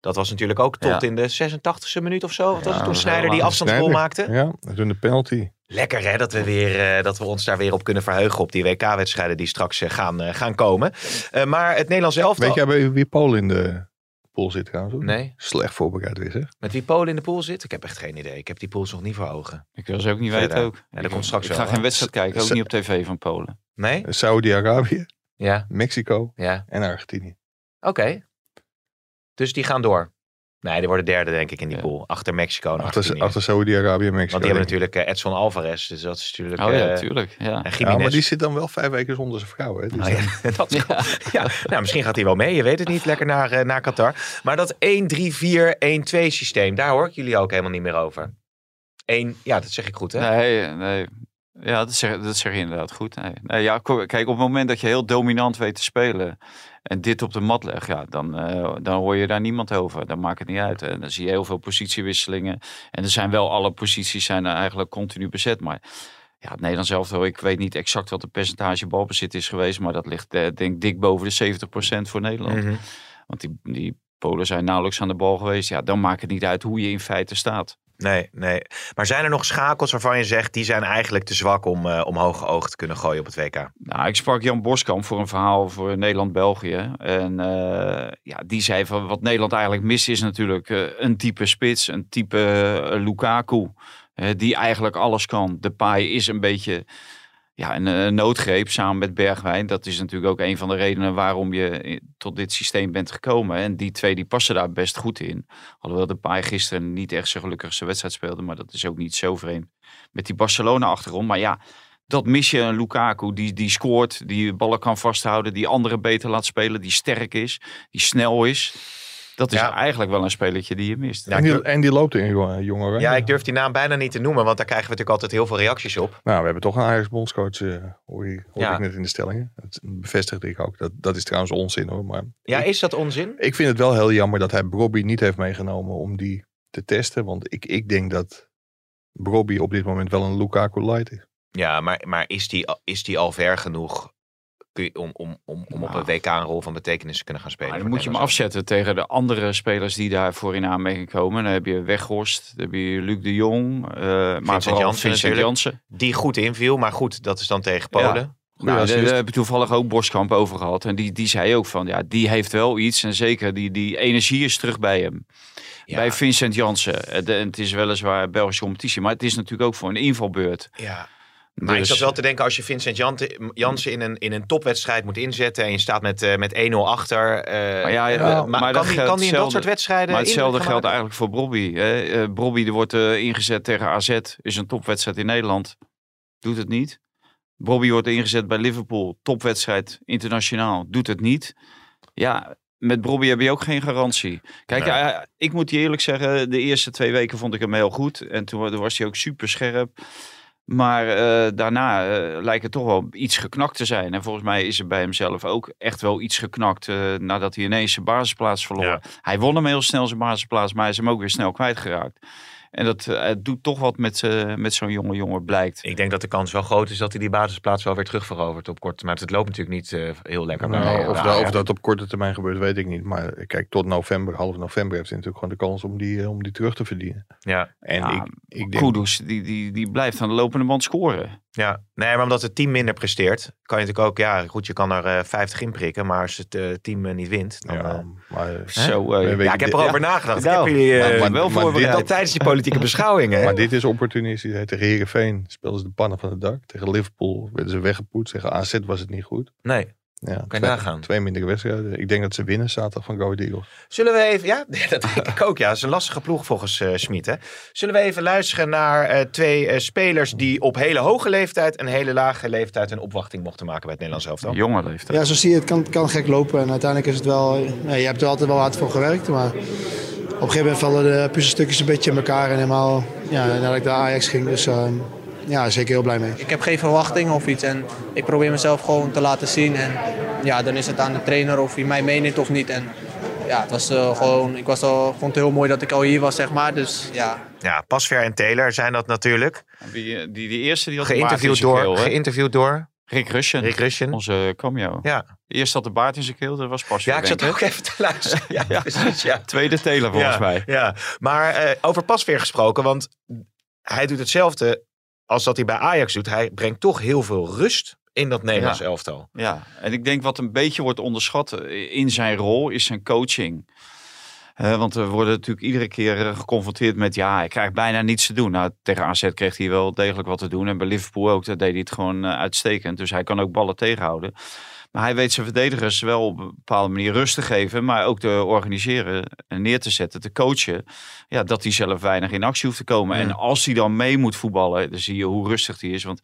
Speaker 3: Dat was natuurlijk ook tot
Speaker 5: Ja.
Speaker 3: in de 86e minuut of zo. Wat was
Speaker 5: Ja,
Speaker 3: het toen
Speaker 5: dat is
Speaker 3: Snijder
Speaker 5: heel
Speaker 3: die
Speaker 5: laat.
Speaker 3: afstandsgoal
Speaker 4: Sneijder.
Speaker 3: maakte?
Speaker 4: Ja, en toen de penalty.
Speaker 3: Lekker hè, dat we, weer, eh, dat we ons daar weer op kunnen verheugen op die WK-wedstrijden die straks eh, gaan, eh, gaan komen. Eh, maar het Nederlands elftal...
Speaker 4: Weet jij bij wie Polen in de pool zit trouwens? of niet?
Speaker 3: Nee,
Speaker 4: Slecht voorbereid weer, zeg.
Speaker 3: met wie Polen in de pool zit? Ik heb echt geen idee. Ik heb die pools nog niet voor ogen.
Speaker 5: Ik wil ze ook niet
Speaker 3: Verder.
Speaker 5: weten ook.
Speaker 3: dat
Speaker 5: Ik-
Speaker 3: komt straks
Speaker 5: Ik
Speaker 3: wel,
Speaker 5: ga geen
Speaker 3: hè?
Speaker 5: wedstrijd kijken. Ook
Speaker 4: Ze-
Speaker 5: niet op tv van Polen.
Speaker 3: Nee?
Speaker 4: Saudi-Arabië,
Speaker 3: Ja,
Speaker 4: Mexico
Speaker 3: ja.
Speaker 4: en Argentinië.
Speaker 3: Oké. Dus die gaan door. Nee, die worden derde denk ik in die
Speaker 5: Ja.
Speaker 3: pool. Achter Mexico en
Speaker 4: Achter,
Speaker 3: Argentinië.
Speaker 4: achter Saudi-Arabië en Mexico.
Speaker 3: Want die hebben natuurlijk eh, Edson Alvarez, dus dat is natuurlijk...
Speaker 5: oh ja,
Speaker 3: eh,
Speaker 5: natuurlijk. Ja.
Speaker 3: en
Speaker 4: Ja,
Speaker 3: Gimenez.
Speaker 4: maar die zit dan wel vijf weken zonder zijn vrouw, hè? Dus
Speaker 3: Oh ja, dat, ja. nou, misschien gaat hij wel mee, je weet het niet, lekker naar, eh, naar Qatar. Maar dat 1-3-4-1-2 systeem, daar hoor ik jullie ook helemaal niet meer over. 1, ja, dat zeg ik goed hè?
Speaker 5: Nee, nee. Ja, dat zeg, dat zeg je inderdaad goed. Nee. Nee, ja, ko- kijk, op het moment dat je heel dominant weet te spelen en dit op de mat legt, ja, dan, eh, dan hoor je daar niemand over. Dan maakt het niet uit. En dan zie je heel veel positiewisselingen. En er zijn wel alle posities zijn er eigenlijk continu bezet. Maar ja, het Nederlands elftal, ik weet niet exact wat het percentage balbezit is geweest, maar dat ligt eh, denk ik dik boven de 70% voor Nederland.
Speaker 3: Mhm.
Speaker 5: Want die, die Polen zijn nauwelijks aan de bal geweest. Ja, dan maakt het niet uit hoe je in feite staat.
Speaker 3: Nee, nee. Maar zijn er nog schakels waarvan je zegt, die zijn eigenlijk te zwak om, eh om hoge ogen te kunnen gooien op het WK?
Speaker 5: Nou, ik sprak Jan Boskamp voor een verhaal voor Nederland-België. En eh, ja, die zei van wat Nederland eigenlijk mist is natuurlijk eh, een type spits, een type eh, Lukaku. eh, die eigenlijk alles kan. De paai is een beetje ja, een, eh, noodgreep samen met Bergwijn. Dat is natuurlijk ook een van de redenen waarom je i- tot dit systeem bent gekomen. En die twee die passen daar best goed in. Alhoewel de paai gisteren niet echt zo gelukkig zijn wedstrijd speelde. Maar dat is ook niet zo vreemd met die Barcelona-achtergrond. Maar ja, dat mis je een Lukaku die, die scoort, die ballen kan vasthouden, die anderen beter laat spelen, die sterk is, die snel is. Dat is
Speaker 3: Ja.
Speaker 5: eigenlijk wel een spelletje die je mist.
Speaker 3: Ja,
Speaker 4: en, die,
Speaker 3: ik-
Speaker 4: en die loopt in eh, jongen- jongeren.
Speaker 3: Ja, ik durf die naam bijna niet te noemen, want daar krijgen we natuurlijk altijd heel veel reacties op.
Speaker 4: Nou, we hebben toch een Ajax-bondscoach, eh, hoor, je- hoor
Speaker 3: Ja.
Speaker 4: ik net in de stellingen. Dat bevestigde ik ook. Dat, dat is trouwens onzin, hoor. Maar
Speaker 3: Ja, is dat onzin?
Speaker 4: Ik vind het wel heel jammer dat hij Robbie niet heeft meegenomen om die te testen. Want ik, ik denk dat Robbie op dit moment wel een Lukaku light is.
Speaker 3: Ja, maar, maar is, die, al- is die al ver genoeg kun je- om, om, om, om op
Speaker 5: Nou.
Speaker 3: een WK een rol van betekenis te kunnen gaan spelen?
Speaker 5: Maar dan
Speaker 3: voor
Speaker 5: moet je hem
Speaker 3: Nederland?
Speaker 5: afzetten tegen de andere spelers die daarvoor in aanmerking komen. Dan heb je Weghorst, dan heb je Luc de Jong, eh maar vooral
Speaker 3: Jansen
Speaker 5: Vincent
Speaker 3: natuurlijk.
Speaker 5: Jansen.
Speaker 3: Die goed inviel, maar goed, dat is dan tegen Polen. dus-
Speaker 5: Nou, daar,
Speaker 4: assist.
Speaker 5: daar heb ik toevallig ook Boskamp over gehad. En die, die zei ook van, ja, die heeft wel iets. En zeker, die, die energie is terug bij hem.
Speaker 3: Ja,
Speaker 5: Bij Vincent Jansen. Eh, de- En het is weliswaar Belgische competitie, maar het is natuurlijk ook voor een invalbeurt.
Speaker 3: ja. Maar ik
Speaker 5: Dus-
Speaker 3: zat wel te denken, als je Vincent Jante- Jansen in een, in een topwedstrijd moet inzetten en je staat met, eh, met 1-0 achter. eh,
Speaker 5: Maar ja,
Speaker 3: eh,
Speaker 5: ja,
Speaker 3: maar
Speaker 5: maar
Speaker 3: kan
Speaker 5: dat
Speaker 3: die,
Speaker 5: geldt
Speaker 3: kan die in dat
Speaker 5: hetzelfde-
Speaker 3: soort wedstrijden
Speaker 5: Maar hetzelfde
Speaker 3: indruk gaan
Speaker 5: geldt eigenlijk voor Bobby. Hè? Eh, Bobby er wordt eh, ingezet tegen AZ. Is een topwedstrijd in Nederland. Doet het niet. Bobby wordt ingezet bij Liverpool. Topwedstrijd internationaal. Doet het niet. Ja, met Bobby heb je ook geen garantie. Kijk,
Speaker 3: Nee.
Speaker 5: eh, ik moet je eerlijk zeggen. De eerste twee weken vond ik hem heel goed. En toen was hij ook super scherp. Maar eh, daarna eh, lijkt het toch wel iets geknakt te zijn. En volgens mij is er bij hemzelf ook echt wel iets geknakt. eh, nadat hij ineens zijn basisplaats verloor.
Speaker 3: Ja.
Speaker 5: Hij won hem heel snel zijn basisplaats. Maar hij is hem ook weer snel kwijtgeraakt. En dat eh, het doet toch wat met, eh, met zo'n jonge jongen, blijkt.
Speaker 3: Ik denk dat de kans wel groot is dat hij die basisplaats wel weer terugverovert op korte termijn. Het loopt natuurlijk niet eh, heel lekker. bij
Speaker 4: Nou,
Speaker 3: eh,
Speaker 4: of,
Speaker 3: bij
Speaker 4: da-
Speaker 3: Ajax.
Speaker 4: of dat op korte termijn gebeurt, weet ik niet. Maar kijk, tot november, half november, heeft hij natuurlijk gewoon de kans om die, eh, om die terug te verdienen.
Speaker 3: Ja.
Speaker 4: En
Speaker 5: Ja,
Speaker 4: ik, ik denk,
Speaker 5: Kudus, die, die, die blijft aan de lopende band scoren.
Speaker 3: Ja, nee, maar omdat het team minder presteert, kan je natuurlijk ook, ja, goed, je kan er eh 50 in prikken, maar als het eh, team eh, niet wint, dan... eh,
Speaker 4: Ja, maar, eh,
Speaker 5: Zo, eh,
Speaker 4: We
Speaker 3: ja,
Speaker 4: weten
Speaker 3: ik heb
Speaker 4: dit-
Speaker 3: erover nagedacht. Ik heb jullie eh,
Speaker 4: maar- maar
Speaker 3: wel
Speaker 4: dit-
Speaker 3: voorbereid.
Speaker 4: dat
Speaker 3: tijdens die politieke beschouwingen.
Speaker 4: maar dit is opportunistisch. hè. Tegen Herenveen speelden ze de pannen van het dak. Tegen Liverpool werden ze weggepoetst. Tegen AZ was het niet goed.
Speaker 3: Nee.
Speaker 4: Ja,
Speaker 3: je
Speaker 4: twee,
Speaker 3: nagaan.
Speaker 4: Twee mindere wedstrijden. Ik denk dat ze winnen zaterdag van Go Ahead Eagles.
Speaker 3: Zullen we even... Ja, dat denk ik ook, ja. Het is een lastige ploeg volgens eh Smit, hè. Zullen we even luisteren naar eh, twee eh, spelers die op hele hoge leeftijd en hele lage leeftijd een opwachting mochten maken bij het Nederlands elftal?
Speaker 5: Jonge leeftijd.
Speaker 7: Ja, zo zie je, het kan, kan gek lopen. En uiteindelijk is het wel... ja, je hebt er altijd wel hard voor gewerkt, maar... Op een gegeven moment vallen de puzzelstukjes een beetje in elkaar. En helemaal ja, nadat ik naar Ajax ging. Dus ehm, ja, zeker heel blij mee.
Speaker 8: Ik heb geen verwachtingen of iets en ik probeer mezelf gewoon te laten zien. En ja, dan is het aan de trainer of hij mij meeneemt of niet. En ja, het was eh, gewoon, ik was al, vond het heel mooi dat ik al hier was, zeg maar. Dus ja,
Speaker 3: Ja, Pasver en Taylor zijn dat natuurlijk.
Speaker 5: Die, eh, die, die eerste die had een baard in
Speaker 3: Geïnterviewd
Speaker 5: zijn
Speaker 3: door,
Speaker 5: keel, hè?
Speaker 3: geïnterviewd door
Speaker 5: Rick Russen.
Speaker 3: Rick Rushen.
Speaker 5: Onze cameo.
Speaker 3: Ja.
Speaker 5: Eerst had de baard in zijn keel, dat was pas
Speaker 3: ja, ik zat
Speaker 5: denk
Speaker 3: ook even te luisteren. Ja, precies, ja.
Speaker 5: Tweede teler volgens
Speaker 3: ja,
Speaker 5: mij.
Speaker 3: Ja, maar eh, over Pasveer gesproken, want hij doet hetzelfde als dat hij bij Ajax doet. Hij brengt toch heel veel rust in dat Nederlands
Speaker 5: Ja.
Speaker 3: elftal.
Speaker 5: Ja, en ik denk wat een beetje wordt onderschat eh, in zijn rol is zijn coaching. Eh, want we worden natuurlijk iedere keer eh, geconfronteerd met ja, hij krijgt bijna niets te doen. Nou, tegen AZ kreeg hij wel degelijk wat te doen. En bij Liverpool ook, daar deed hij het gewoon eh, uitstekend. Dus hij kan ook ballen tegenhouden. Maar hij weet zijn verdedigers wel op een bepaalde manier rust te geven, maar ook te organiseren en neer te zetten, te coachen. Ja, dat hij zelf weinig in actie hoeft te komen. En als hij dan mee moet voetballen, dan zie je hoe rustig hij is. Want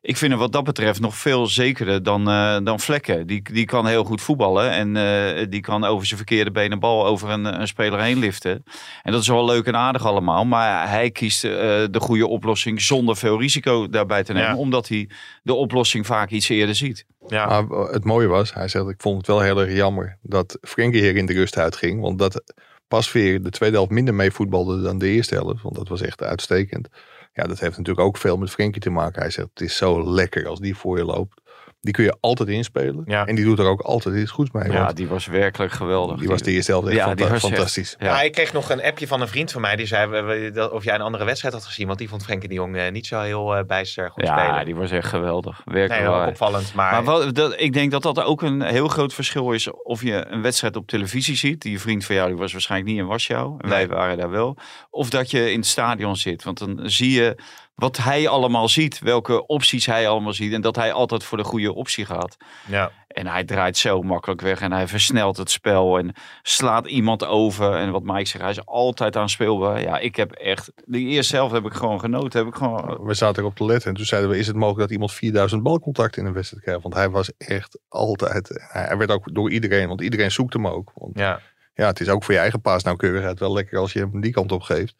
Speaker 5: ik vind hem wat dat betreft nog veel zekerder dan, eh, dan Vlekken. Die, die kan heel goed voetballen en eh, die kan over zijn verkeerde been een bal over een, een speler heen liften. En dat is wel leuk en aardig allemaal, maar hij kiest eh, de goede oplossing zonder veel risico daarbij te nemen.
Speaker 3: Ja.
Speaker 5: Omdat hij de oplossing vaak iets eerder ziet.
Speaker 3: Ja.
Speaker 4: Maar eh, het mooie was, hij zegt, ik vond het wel heel erg jammer dat Frenkie hier in de rust uitging. Want dat Pasveer de tweede helft minder mee voetbalde dan de eerste helft. Want dat was echt uitstekend. Ja, dat heeft natuurlijk ook veel met Frenkie te maken. Hij zegt, het is zo lekker als die voor je loopt. Die kun je altijd inspelen.
Speaker 3: Ja.
Speaker 4: En die doet er ook altijd iets goeds mee.
Speaker 5: Ja,
Speaker 4: want
Speaker 5: die was werkelijk geweldig.
Speaker 4: die was de eerste helft echt
Speaker 5: Ja,
Speaker 4: fanta-
Speaker 5: die was echt-
Speaker 4: fantastisch.
Speaker 5: Ja.
Speaker 3: Maar ik kreeg nog een appje van een vriend van mij. Die zei we- we- dat- of jij een andere wedstrijd had gezien. Want die vond Frenkie de Jong eh, niet zo heel eh, bijster goed
Speaker 5: Ja,
Speaker 3: spelen.
Speaker 5: die was echt geweldig.
Speaker 3: nee,
Speaker 5: Werkelijk
Speaker 3: wel
Speaker 5: waar.
Speaker 3: opvallend. Maar,
Speaker 5: Maar wat, dat, ik denk dat dat ook een heel groot verschil is of je een wedstrijd op televisie ziet. Die vriend van jou die was waarschijnlijk niet in Warschau. En wij waren daar wel. Of dat je in het stadion zit. Want dan zie je wat hij allemaal ziet. Welke opties hij allemaal ziet. En dat hij altijd voor de goede optie gaat.
Speaker 3: ja.
Speaker 5: En hij draait zo makkelijk weg. En hij versnelt het spel. En slaat iemand over. En wat Mike zegt, hij is altijd aanspeelbaar. Ja, ik heb echt... Die eerste helft heb ik gewoon genoten. Heb ik gewoon...
Speaker 4: We zaten erop te letten en toen zeiden we, is het mogelijk dat iemand 4000 balcontacten in een wedstrijd krijgt? Want hij was echt altijd, hij werd ook door iedereen, want iedereen zoekt hem ook. Want
Speaker 3: Ja.
Speaker 4: ja, het is ook voor je eigen paasnauwkeurigheid wel lekker als je hem die kant op geeft.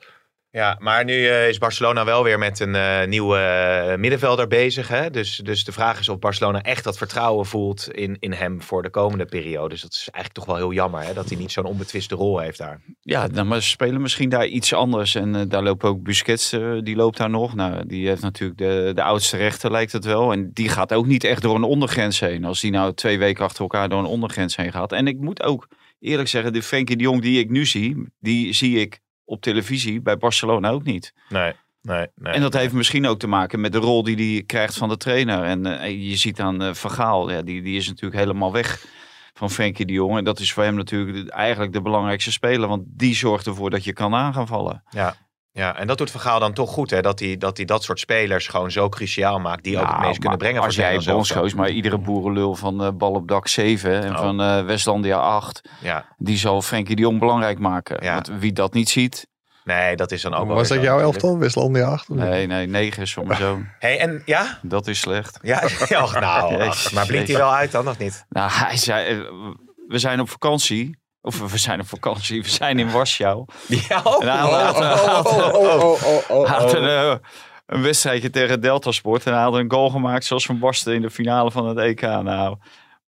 Speaker 3: ja, maar nu eh, is Barcelona wel weer met een eh, nieuwe eh, middenvelder bezig. Hè? Dus, dus de vraag is of Barcelona echt dat vertrouwen voelt in, in hem voor de komende periode. Dus dat is eigenlijk toch wel heel jammer. Hè? Dat hij niet zo'n onbetwiste rol heeft daar.
Speaker 5: Ja, nou, maar ze spelen misschien daar iets anders. En eh, daar loopt ook Busquets, eh, die loopt daar nog. Nou, die heeft natuurlijk de, de oudste rechter, lijkt het wel. En die gaat ook niet echt door een ondergrens heen. Als die nou twee weken achter elkaar door een ondergrens heen gaat. En ik moet ook eerlijk zeggen, de Frenkie de Jong die ik nu zie, die zie ik op televisie bij Barcelona ook niet.
Speaker 3: Nee, nee, nee.
Speaker 5: En dat heeft misschien ook te maken met de rol die hij krijgt van de trainer. En eh, je ziet aan eh Van Gaal, ja, die, die is natuurlijk helemaal weg van Frenkie de Jong. En dat is voor hem natuurlijk de- eigenlijk de belangrijkste speler. Want die zorgt ervoor dat je kan aan gaan vallen.
Speaker 3: Ja. Ja, en dat doet Vergaal dan toch goed, hè? Dat hij dat, hij dat soort spelers gewoon zo cruciaal maakt. Die ook het
Speaker 5: Nou,
Speaker 3: meest kunnen
Speaker 5: maar
Speaker 3: brengen voor
Speaker 5: Als jij
Speaker 3: Nederland zelf.
Speaker 5: bondscoach, maar iedere boerenlul van eh, bal op dak 7 en
Speaker 3: Oh.
Speaker 5: van eh, Westlandia 8.
Speaker 3: Ja,
Speaker 5: Die zal Frenkie de Jong belangrijk maken.
Speaker 3: Ja.
Speaker 5: Want wie dat niet ziet,
Speaker 3: nee, dat is dan ook wel
Speaker 4: was
Speaker 3: weer
Speaker 4: dat
Speaker 3: zo
Speaker 4: jouw
Speaker 3: natuurlijk.
Speaker 4: elftal, Westlandia 8?
Speaker 5: nee, nee, 9 is voor mijn zoon.
Speaker 3: hey, en ja?
Speaker 5: Dat is slecht.
Speaker 3: Ja, ja och, nou,
Speaker 5: Jezus,
Speaker 3: ach, maar blinkt hij
Speaker 5: jezus.
Speaker 3: wel uit dan nog niet?
Speaker 5: Nou, hij zei, eh, we zijn op vakantie. Of we zijn op vakantie, we zijn in Warschau.
Speaker 3: Ja, oh,
Speaker 5: En hij had, eh, had, eh, hij had een, eh, een wedstrijdje tegen Deltasport. En hij had een goal gemaakt zoals Van Barsten in de finale van het EK. Nou,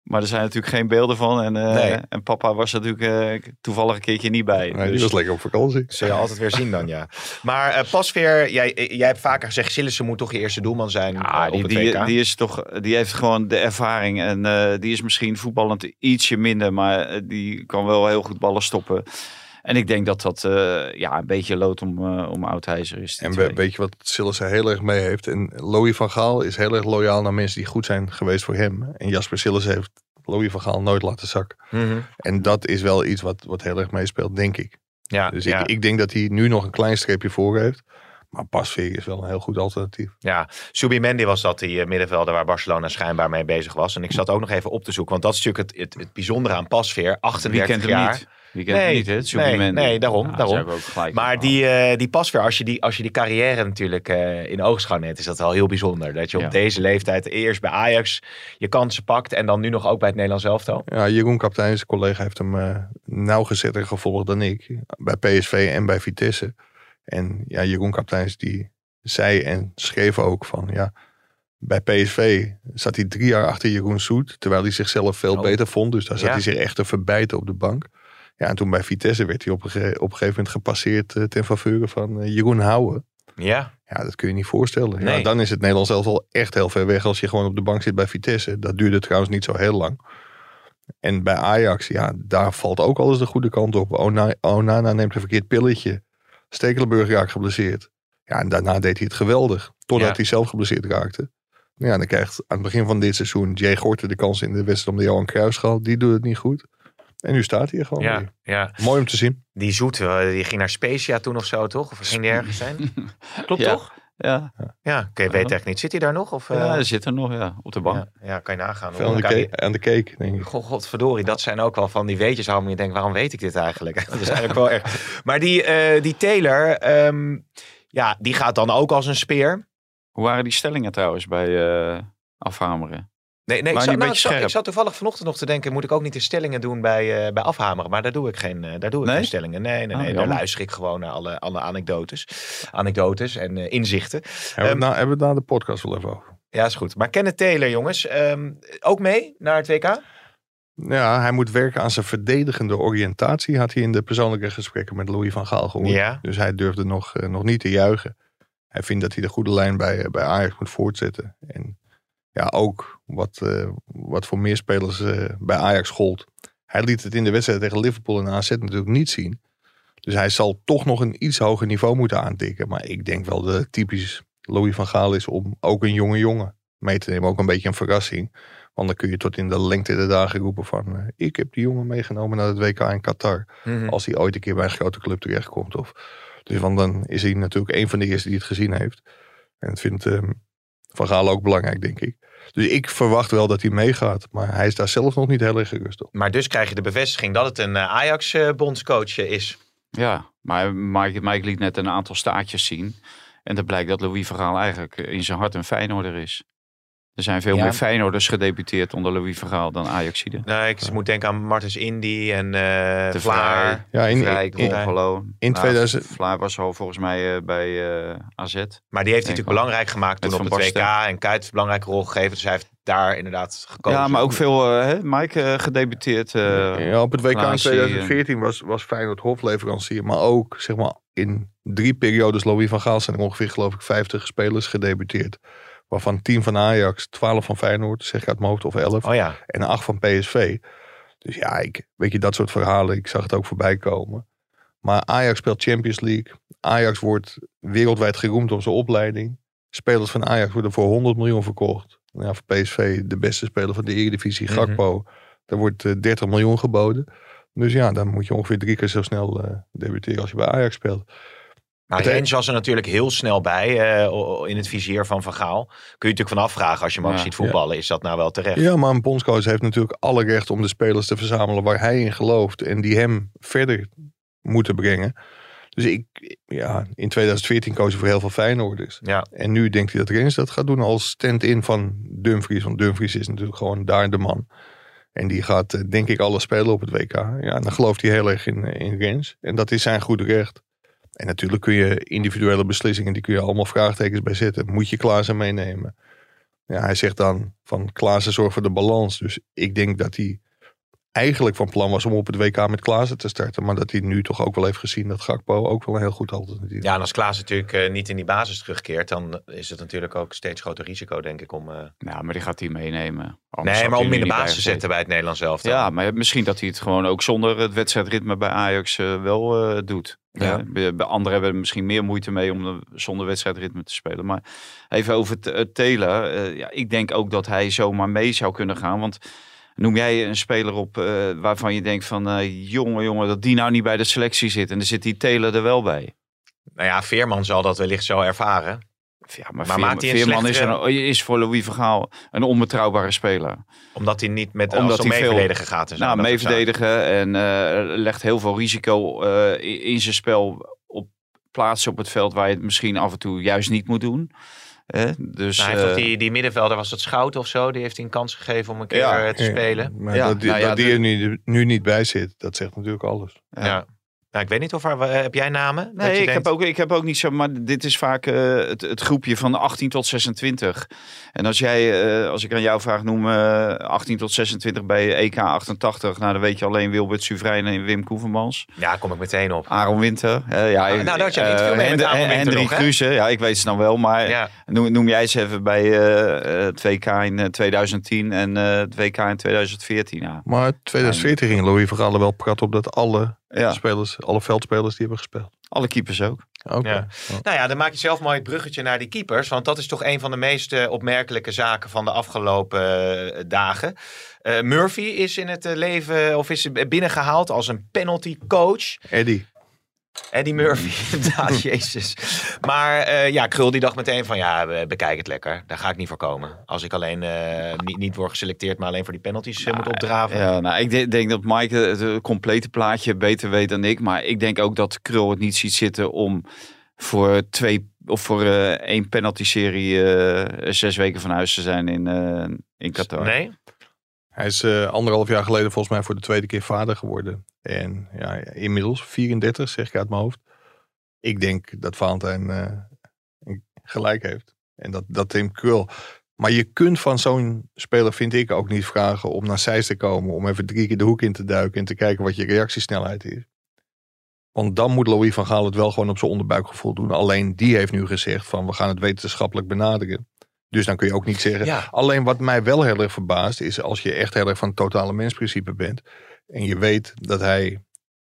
Speaker 5: maar er zijn natuurlijk geen beelden van. En, eh,
Speaker 3: Nee.
Speaker 5: en papa was er natuurlijk eh, toevallig een keertje niet bij.
Speaker 4: Nee, die
Speaker 5: Dus-
Speaker 4: was lekker op vakantie.
Speaker 3: Zul je altijd weer zien dan, ja. Maar eh, Pasveer, jij, jij hebt vaker gezegd... Sillissen moet toch je eerste doelman zijn eh,
Speaker 5: Ja,
Speaker 3: op
Speaker 5: die,
Speaker 3: het
Speaker 5: die,
Speaker 3: WK.
Speaker 5: die, is toch, die heeft gewoon de ervaring. En eh, die is misschien voetballend ietsje minder. Maar eh, die kan wel heel goed ballen stoppen. En ik denk dat dat eh, ja, een beetje lood om, eh om Oudheizer is. die
Speaker 4: En
Speaker 5: twee.
Speaker 4: we- weet je wat Sillissen heel erg mee heeft? En Louis van Gaal is heel erg loyaal naar mensen die goed zijn geweest voor hem. En Jasper Sillissen heeft Louis van Gaal nooit laten zakken.
Speaker 3: Mhm.
Speaker 4: En dat is wel iets wat, wat heel erg meespeelt, denk ik.
Speaker 3: Ja,
Speaker 4: Dus
Speaker 3: ja.
Speaker 4: ik, ik denk dat hij nu nog een klein streepje voor heeft. Maar Pasveer is wel een heel goed alternatief.
Speaker 3: Ja, Subimendi was dat die eh, middenvelder waar Barcelona schijnbaar mee bezig was. En ik zat ook nog even op te zoeken, want dat is natuurlijk het, het, het bijzondere aan Pasveer.
Speaker 5: Wie
Speaker 3: 38
Speaker 5: kent hem
Speaker 3: jaar.
Speaker 5: niet? Wie kent hem
Speaker 3: Nee,
Speaker 5: niet, hè?
Speaker 3: nee,
Speaker 5: Superman.
Speaker 3: nee, daarom,
Speaker 5: Ja,
Speaker 3: daarom.
Speaker 5: ze hebben ook gelijk
Speaker 3: Maar
Speaker 5: allemaal.
Speaker 3: die, eh, die Pasveer, als je die, als je die carrière natuurlijk eh, in oogschouw neemt, is dat wel heel bijzonder. Dat je op
Speaker 5: Ja.
Speaker 3: deze leeftijd eerst bij Ajax je kansen pakt en dan nu nog ook bij het Nederlands elftal.
Speaker 4: Ja, Jeroen Kapteijn, zijn collega, heeft hem eh nauwgezetter gevolgd dan ik. Bij PSV en bij Vitesse. En ja, Jeroen Kapteijn die zei en schreef ook van ja... Bij PSV zat hij drie jaar achter Jeroen Soet. Terwijl hij zichzelf veel
Speaker 3: Oh.
Speaker 4: beter vond. Dus daar zat
Speaker 3: Ja.
Speaker 4: hij zich echt te verbijten op de bank. Ja, en toen bij Vitesse werd hij op een, ge- op een gegeven moment gepasseerd eh, ten faveur van eh, Jeroen Houwen.
Speaker 3: Ja,
Speaker 4: Ja, dat kun je niet voorstellen. Ja,
Speaker 3: Nee.
Speaker 4: dan is het Nederlands elftal echt heel ver weg als je gewoon op de bank zit bij Vitesse. Dat duurde trouwens niet zo heel lang. En bij Ajax, ja, daar valt ook alles de goede kant op. Ona- Onana neemt een verkeerd pilletje. Stekelenburg raakt geblesseerd. Ja, en daarna deed hij het geweldig. Totdat
Speaker 3: Ja.
Speaker 4: hij zelf geblesseerd raakte. Ja, en dan krijgt aan het begin van dit seizoen Jay Gorten de kans in de wedstrijd om de Johan Cruijffschaal. Die doet het niet goed. En nu staat hij er gewoon
Speaker 3: ja,
Speaker 4: weer.
Speaker 3: ja.
Speaker 4: Mooi om te zien.
Speaker 3: Die Zoet, eh, die ging naar Specia toen of zo, toch? Of ging die ergens zijn? Klopt
Speaker 5: Ja.
Speaker 3: toch?
Speaker 5: Ja,
Speaker 3: Ja, oké, weet echt niet. Zit hij daar nog? Of, eh,
Speaker 5: ja, hij zit er nog ja, op de bank.
Speaker 3: ja, ja, kan je nagaan.
Speaker 4: Veel aan de,
Speaker 3: Kan je-
Speaker 4: cake, aan de cake, denk ik.
Speaker 3: Goh, godverdorie, dat zijn ook wel van die weetjes waarom je denkt, waarom weet ik dit eigenlijk? Dat is eigenlijk wel echt. Maar die, eh, die Taylor, ehm, ja, die gaat dan ook als een speer.
Speaker 5: Hoe waren die stellingen trouwens bij eh, afhameren?
Speaker 3: Nee, nee ik,
Speaker 5: Maar die
Speaker 3: zat,
Speaker 5: een
Speaker 3: nou,
Speaker 5: beetje
Speaker 3: ik, zat,
Speaker 5: scherp.
Speaker 3: ik zat toevallig vanochtend nog te denken, moet ik ook niet de stellingen doen bij, eh, bij afhameren? Maar daar doe ik geen, eh, daar doe ik
Speaker 5: Nee?
Speaker 3: geen stellingen. Nee, nee, nee
Speaker 5: Oh,
Speaker 3: daar
Speaker 5: jammer.
Speaker 3: luister ik gewoon naar alle, alle anekdotes, anekdotes en eh, inzichten.
Speaker 4: Hebben we het na- hebben we het na de podcast wel even over.
Speaker 3: Ja, is goed. Maar Kenneth Taylor, jongens, ehm, ook mee naar het WK?
Speaker 4: Ja, hij moet werken aan zijn verdedigende oriëntatie, had hij in de persoonlijke gesprekken met Louis van Gaal gehoord.
Speaker 3: Ja.
Speaker 4: Dus hij durfde nog, eh, nog niet te juichen. Hij vindt dat hij de goede lijn bij, eh, bij Ajax moet voortzetten. En ja, ook wat, eh, wat voor meer spelers eh, bij Ajax gold. Hij liet het in de wedstrijd tegen Liverpool en AZ natuurlijk niet zien. Dus hij zal toch nog een iets hoger niveau moeten aantikken. Maar ik denk wel dat het typisch Louis van Gaal is om ook een jonge jongen mee te nemen. Ook een beetje een verrassing. Want dan kun je tot in de lengte der dagen roepen van... eh, ik heb die jongen meegenomen naar het WK in Qatar. Als hij ooit een keer bij een grote club terechtkomt. Of, dus want dan is hij natuurlijk een van de eerste die het gezien heeft. En dat vindt eh, Van Gaal ook belangrijk, denk ik. Dus ik verwacht wel dat hij meegaat. Maar hij is daar zelf nog niet heel erg gerust op.
Speaker 3: Maar dus krijg je de bevestiging dat het een Ajax-bondscoach is.
Speaker 5: Ja, maar Mike, Mike liet net een aantal staartjes zien. En dat blijkt dat Louis Vergaal eigenlijk in zijn hart een Feyenoorder is. Er zijn veel
Speaker 3: Ja.
Speaker 5: meer Feyenoorders gedeputeerd onder Louis Vergaal dan Ajaxiden.
Speaker 3: Nou, ik moet denken aan Martens Indy en eh Vlaar.
Speaker 5: De Vlaar.
Speaker 4: Ja, in,
Speaker 5: Vrij,
Speaker 4: in-
Speaker 5: Roncalo.
Speaker 4: in 2000
Speaker 5: Vlaar was al volgens mij eh, bij eh, AZ.
Speaker 3: Maar die heeft hij
Speaker 5: Denk
Speaker 3: natuurlijk
Speaker 5: wel.
Speaker 3: belangrijk gemaakt toen
Speaker 5: Met
Speaker 3: op het
Speaker 5: Van
Speaker 3: WK. En Kuyt een belangrijke rol gegeven. Dus hij heeft daar inderdaad gekozen.
Speaker 5: Ja, maar ook veel eh, hè, Mike eh, gedeputeerd. eh,
Speaker 4: ja, op het WK in
Speaker 5: Klaasie,
Speaker 4: 2014 was, was Feyenoord hofleverancier. Maar ook zeg maar, in drie periodes Louis van Gaal zijn er ongeveer geloof ik 50 spelers gedebuteerd. Waarvan 10 van Ajax, 12 van Feyenoord, zeg ik uit mijn hoofd, of 11.
Speaker 3: Oh ja.
Speaker 4: En 8 van PSV. Dus ja, ik, weet je, dat soort verhalen, ik zag het ook voorbij komen. Maar Ajax speelt Champions League. Ajax wordt wereldwijd geroemd om zijn opleiding. Spelers van Ajax worden voor 100 miljoen verkocht. Nou Ja, voor PSV de beste speler van de Eredivisie,
Speaker 3: Mhm.
Speaker 4: Gakpo. Daar wordt eh, 30 miljoen geboden. Dus ja, dan moet je ongeveer drie keer zo snel eh, debuteren als je bij Ajax speelt.
Speaker 3: Maar
Speaker 4: Het he-
Speaker 3: Rens Nou, was er natuurlijk heel snel bij eh, o- o- in het vizier van Van Gaal. Kun je natuurlijk van afvragen als je hem ook
Speaker 5: Ja.
Speaker 3: ziet voetballen. Is dat nou wel terecht?
Speaker 4: Ja, maar een bondscoach heeft natuurlijk alle recht om de spelers te verzamelen waar hij in gelooft. En die hem verder moeten brengen. Dus ik, ja, in 2014 koos hij voor heel veel Feyenoorders.
Speaker 3: Ja.
Speaker 4: En nu denkt hij dat Rens dat gaat doen als stand-in van Dumfries. Want Dumfries is natuurlijk gewoon daar de man. En die gaat, eh, denk ik, alles spelen op het WK. Ja, en dan gelooft hij heel erg in, eh, in Rens. En dat is zijn goed recht. En natuurlijk kun je individuele beslissingen, die kun je allemaal vraagtekens bij zetten. Moet je Klaassen meenemen? Ja, hij zegt dan van Klaassen zorgt voor de balans. Dus ik denk dat hij eigenlijk van plan was om op het WK met Klaassen te starten. Maar dat hij nu toch ook wel heeft gezien dat Gakpo ook wel een heel goed alternatief is.
Speaker 3: Ja, en als Klaas natuurlijk eh, niet in die basis terugkeert, dan is het natuurlijk ook steeds groter risico, denk ik, om... eh,
Speaker 5: Ja, Nou, maar die gaat hij meenemen. Anders
Speaker 3: Nee,
Speaker 5: had
Speaker 3: maar
Speaker 5: hij
Speaker 3: om
Speaker 5: nu
Speaker 3: in de
Speaker 5: niet
Speaker 3: basis te
Speaker 5: bij
Speaker 3: zetten bij het Nederlands zelf.
Speaker 5: gezeten. Ja, maar misschien dat hij het gewoon ook zonder het wedstrijdritme bij Ajax eh, wel eh, doet.
Speaker 3: Ja.
Speaker 5: Eh, bij, bij anderen hebben er misschien meer moeite mee om eh, zonder wedstrijdritme te spelen. Maar even over t- eh, Telen. Eh, ja, ik denk ook dat hij zomaar mee zou kunnen gaan. Want noem jij een speler op eh, waarvan je denkt van... eh jongen, jongen, dat die nou niet bij de selectie zit. En dan zit die Telen er wel bij.
Speaker 3: Nou ja, Veerman zal dat wellicht zo ervaren.
Speaker 5: Ja, maar,
Speaker 3: Maar
Speaker 5: Veerman,
Speaker 3: maakt hij een
Speaker 5: Veerman is,
Speaker 3: slechtere-
Speaker 5: een- is voor Louis van Gaal een onbetrouwbare speler.
Speaker 3: Omdat hij niet met
Speaker 5: Omdat
Speaker 3: als
Speaker 5: hij veel-
Speaker 3: meeverdediger gaat. En zo,
Speaker 5: Nou,
Speaker 3: dat eh,
Speaker 5: mee
Speaker 3: soort zaken.
Speaker 5: verdedigen en eh, legt heel veel risico eh, i- in zijn spel op plaatsen op het veld waar je het misschien af en toe juist niet moet doen. Eh, dus
Speaker 3: Nou, hij heeft
Speaker 5: eh,
Speaker 3: toch die, die middenvelder, was dat Schout of zo, die heeft hij een kans gegeven om een keer
Speaker 5: Ja.
Speaker 3: eh, te spelen.
Speaker 4: Maar
Speaker 5: Ja,
Speaker 4: dat, die-
Speaker 5: nou ja,
Speaker 4: dat die
Speaker 5: de-
Speaker 4: er nu, nu niet bij zit, dat zegt natuurlijk alles.
Speaker 3: Ja. Nou, ik weet niet of er, eh, heb jij namen? Dat
Speaker 5: Nee,
Speaker 3: je
Speaker 5: ik,
Speaker 3: denkt-
Speaker 5: heb ook, ik heb ook niet zo, maar dit is vaak eh, het, het groepje van 18 tot 26. En als jij, eh, als ik aan jou vraag, noem eh 18 tot 26 bij EK 88, nou dan weet je alleen Wilbert Suvrijn en Wim Koevermans.
Speaker 3: Ja, kom ik meteen op.
Speaker 5: Aaron Winter. eh, ja,
Speaker 3: nou, daar had je een interview
Speaker 5: eh,
Speaker 3: mee met
Speaker 5: Hen-
Speaker 3: Aaron Winter
Speaker 5: Hendrik
Speaker 3: nog, hè?
Speaker 5: Kruse, ja, ik weet ze dan wel, maar
Speaker 3: Ja.
Speaker 5: Noem, noem jij ze even bij eh, eh, het WK in eh, 2010 en eh, het WK in 2014 aan.
Speaker 4: Maar 2014 ging Louis van Gaal er wel prat op dat alle,
Speaker 5: Ja,
Speaker 4: spelers, alle veldspelers die hebben gespeeld.
Speaker 5: alle keepers ook.
Speaker 4: Oké.
Speaker 3: Ja. Nou ja, dan maak je zelf mooi het bruggetje naar die keepers. Want dat is toch een van de meest eh, opmerkelijke zaken van de afgelopen eh, dagen. Eh, Murphy is in het eh, leven, of is binnengehaald als een penalty coach.
Speaker 4: Eddie.
Speaker 3: Eddie Murphy, inderdaad, jezus. Maar eh, ja, Krul die dacht meteen van ja, we- bekijk het lekker. Daar ga ik niet voor komen. Als ik alleen eh, niet, niet word geselecteerd, maar alleen voor die penalties eh, moet opdraven.
Speaker 5: Ja, nou, ik de- denk dat Mike het eh, complete plaatje beter weet dan ik. Maar ik denk ook dat Krul het niet ziet zitten om voor twee of voor eh, één penalty-serie eh, zes weken van huis te zijn in, eh, in Qatar.
Speaker 3: Nee?
Speaker 4: Hij is eh, anderhalf jaar geleden volgens mij voor de tweede keer vader geworden. En ja, inmiddels 34, zeg ik uit mijn hoofd. Ik denk dat Valentijn eh, gelijk heeft. En dat, dat Tim Krul. Maar je kunt van zo'n speler, vind ik, ook niet vragen om naar Zeist te komen. Om even drie keer de hoek in te duiken en te kijken wat je reactiesnelheid is. Want dan moet Louis van Gaal het wel gewoon op zijn onderbuikgevoel doen. Alleen die heeft nu gezegd van we gaan het wetenschappelijk benaderen. Dus dan kun je ook niet zeggen.
Speaker 3: Ja.
Speaker 4: Alleen wat mij wel heel erg verbaast is als je echt heel erg van het totale mensprincipe bent. En je weet dat hij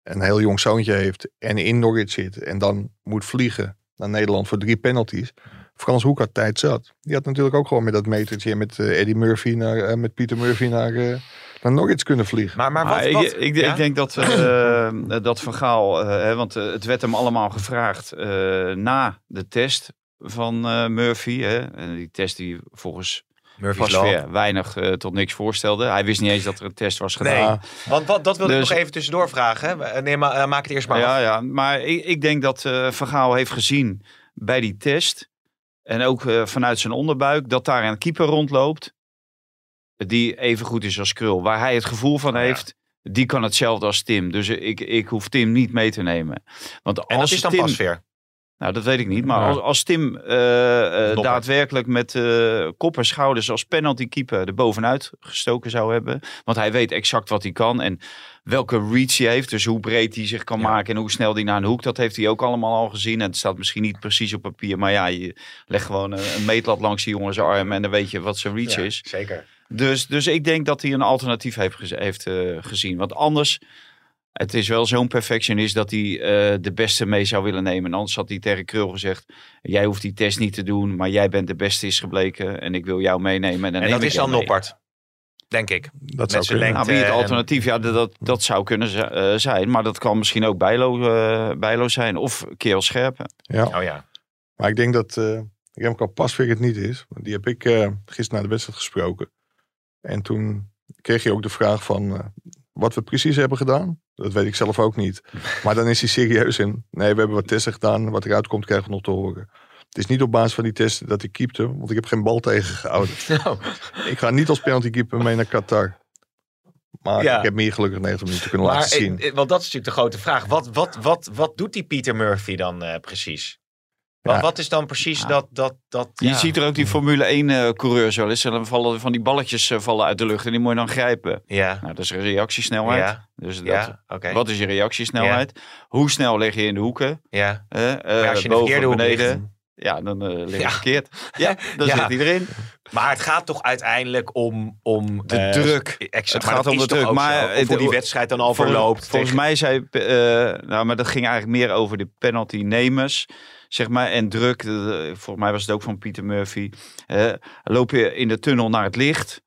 Speaker 4: een heel jong zoontje heeft en in Norwich zit. En dan moet vliegen naar Nederland voor drie penalties. Frans Hoek had tijd zat. Die had natuurlijk ook gewoon met dat metertje en met eh, Eddie Murphy naar, eh, met Pieter Murphy naar, eh naar Norwich kunnen vliegen.
Speaker 3: Maar, maar
Speaker 5: Maar
Speaker 3: wat? wat?
Speaker 5: ik, ik,
Speaker 3: Ja?
Speaker 5: ik denk dat, eh, dat Van Gaal, eh, hè, want eh, het werd hem allemaal gevraagd eh, na de test van eh, Murphy. Hè, en die test die volgens
Speaker 3: Murphy's Law.
Speaker 5: Pasveer weinig eh, tot niks voorstelde. Hij wist niet eens dat er een test was gedaan.
Speaker 3: Nee, want wat, dat wil ik
Speaker 5: Dus-
Speaker 3: nog even tussendoor vragen. hè. Nee, maar eh, maak het eerst maar af.
Speaker 5: Ja, ja, maar ik, ik denk dat eh Van Gaal heeft gezien bij die test. En ook eh, vanuit zijn onderbuik. Dat daar een keeper rondloopt. Die even goed is als Krul. Waar hij het gevoel van
Speaker 3: Nou
Speaker 5: heeft. Die kan hetzelfde als Tim. Dus ik, ik hoef Tim niet mee te nemen. Want
Speaker 3: En dat
Speaker 5: als
Speaker 3: is dan
Speaker 5: Tim,
Speaker 3: Pasveer.
Speaker 5: Nou, dat weet ik niet. Maar
Speaker 4: Ja.
Speaker 5: als, als Tim eh, eh,
Speaker 3: Dopper.
Speaker 5: daadwerkelijk met eh kop en schouders als penalty keeper er bovenuit gestoken zou hebben. Want hij weet exact wat hij kan en welke reach hij heeft. Dus hoe breed hij zich kan maken en hoe snel hij naar een hoek. Dat heeft hij ook allemaal al gezien. En het staat misschien niet precies op papier. Maar ja, je legt gewoon een, een meetlat langs die jongens arm. En dan weet je wat zijn reach is.
Speaker 3: Zeker.
Speaker 5: Dus, dus ik denk dat hij een alternatief heeft, gez- heeft eh, gezien. Want anders, het is wel zo'n perfectionist dat hij eh, de beste mee zou willen nemen. En anders had hij tegen Krul gezegd, jij hoeft die test niet te doen, maar jij bent de beste is gebleken en ik wil jou meenemen. En, dan
Speaker 3: En
Speaker 5: neem
Speaker 3: dat
Speaker 5: ik
Speaker 3: is
Speaker 5: jou
Speaker 3: dan eh,
Speaker 5: mee.
Speaker 3: Noppert. Denk ik.
Speaker 4: Dat
Speaker 3: met
Speaker 4: zou
Speaker 3: zijn
Speaker 4: kunnen.
Speaker 5: Nou,
Speaker 3: lengte.
Speaker 5: wie het
Speaker 3: en-
Speaker 5: alternatief, ja, dat, dat, dat zou kunnen z- eh, zijn. Maar dat kan misschien ook Bijlo, eh, Bijlo zijn of Keel Scherpen.
Speaker 4: Ja.
Speaker 3: Oh ja.
Speaker 4: Maar ik denk dat eh Remco Pasveer het niet is. Want die heb ik eh, gisteren na de wedstrijd gesproken. En toen kreeg je ook de vraag van eh, wat we precies hebben gedaan. Dat weet ik zelf ook niet. Maar dan is hij serieus in. Nee, we hebben wat testen gedaan. Wat eruit komt krijgen we nog te horen. Het is niet op basis van die testen dat ik keepte. Want ik heb geen bal tegengehouden.
Speaker 3: Nou.
Speaker 4: Ik ga niet als penalty keeper mee naar Qatar. Maar
Speaker 3: Ja.
Speaker 4: ik heb me hier gelukkig 90 minuten kunnen
Speaker 3: Maar,
Speaker 4: laten
Speaker 3: eh,
Speaker 4: zien.
Speaker 3: eh, want dat is natuurlijk de grote vraag. Wat, wat, wat, wat doet die Peter Murphy dan eh, precies? Wat,
Speaker 4: Ja.
Speaker 3: wat is dan precies dat... dat, dat
Speaker 5: Je ziet er ook die Formule 1-coureurs wel eens. En dan vallen van die balletjes eh, vallen uit de lucht en die moet je dan grijpen.
Speaker 3: Ja,
Speaker 5: Nou, dat is reactiesnelheid.
Speaker 3: Ja.
Speaker 5: Dus dat,
Speaker 3: ja oké.
Speaker 5: Wat is je reactiesnelheid? Hoe snel lig je in de hoeken?
Speaker 3: Ja.
Speaker 5: Eh, eh,
Speaker 3: Maar als je in de
Speaker 5: boven,
Speaker 3: verkeerde hoek
Speaker 5: beneden.
Speaker 3: ligt-
Speaker 5: Ja, dan eh lig je
Speaker 3: Ja.
Speaker 5: verkeerd. Ja, dan
Speaker 3: Ja.
Speaker 5: zit hij erin.
Speaker 3: Maar het gaat toch uiteindelijk om... om
Speaker 5: De
Speaker 3: eh,
Speaker 5: druk.
Speaker 3: Exact,
Speaker 5: Het
Speaker 3: maar
Speaker 5: gaat
Speaker 3: dat
Speaker 5: om de
Speaker 3: is toch
Speaker 5: druk,
Speaker 3: ook
Speaker 5: maar
Speaker 3: zo? Of hoe
Speaker 5: het-
Speaker 3: die wedstrijd dan al
Speaker 5: Vol-
Speaker 3: verloopt.
Speaker 5: Volgens mij zei... eh, nou, maar dat ging eigenlijk meer over de penalty-nemers. Zeg maar, en druk. eh, volgens mij was het ook van Pieter Murphy. Eh, loop je in de tunnel naar het licht?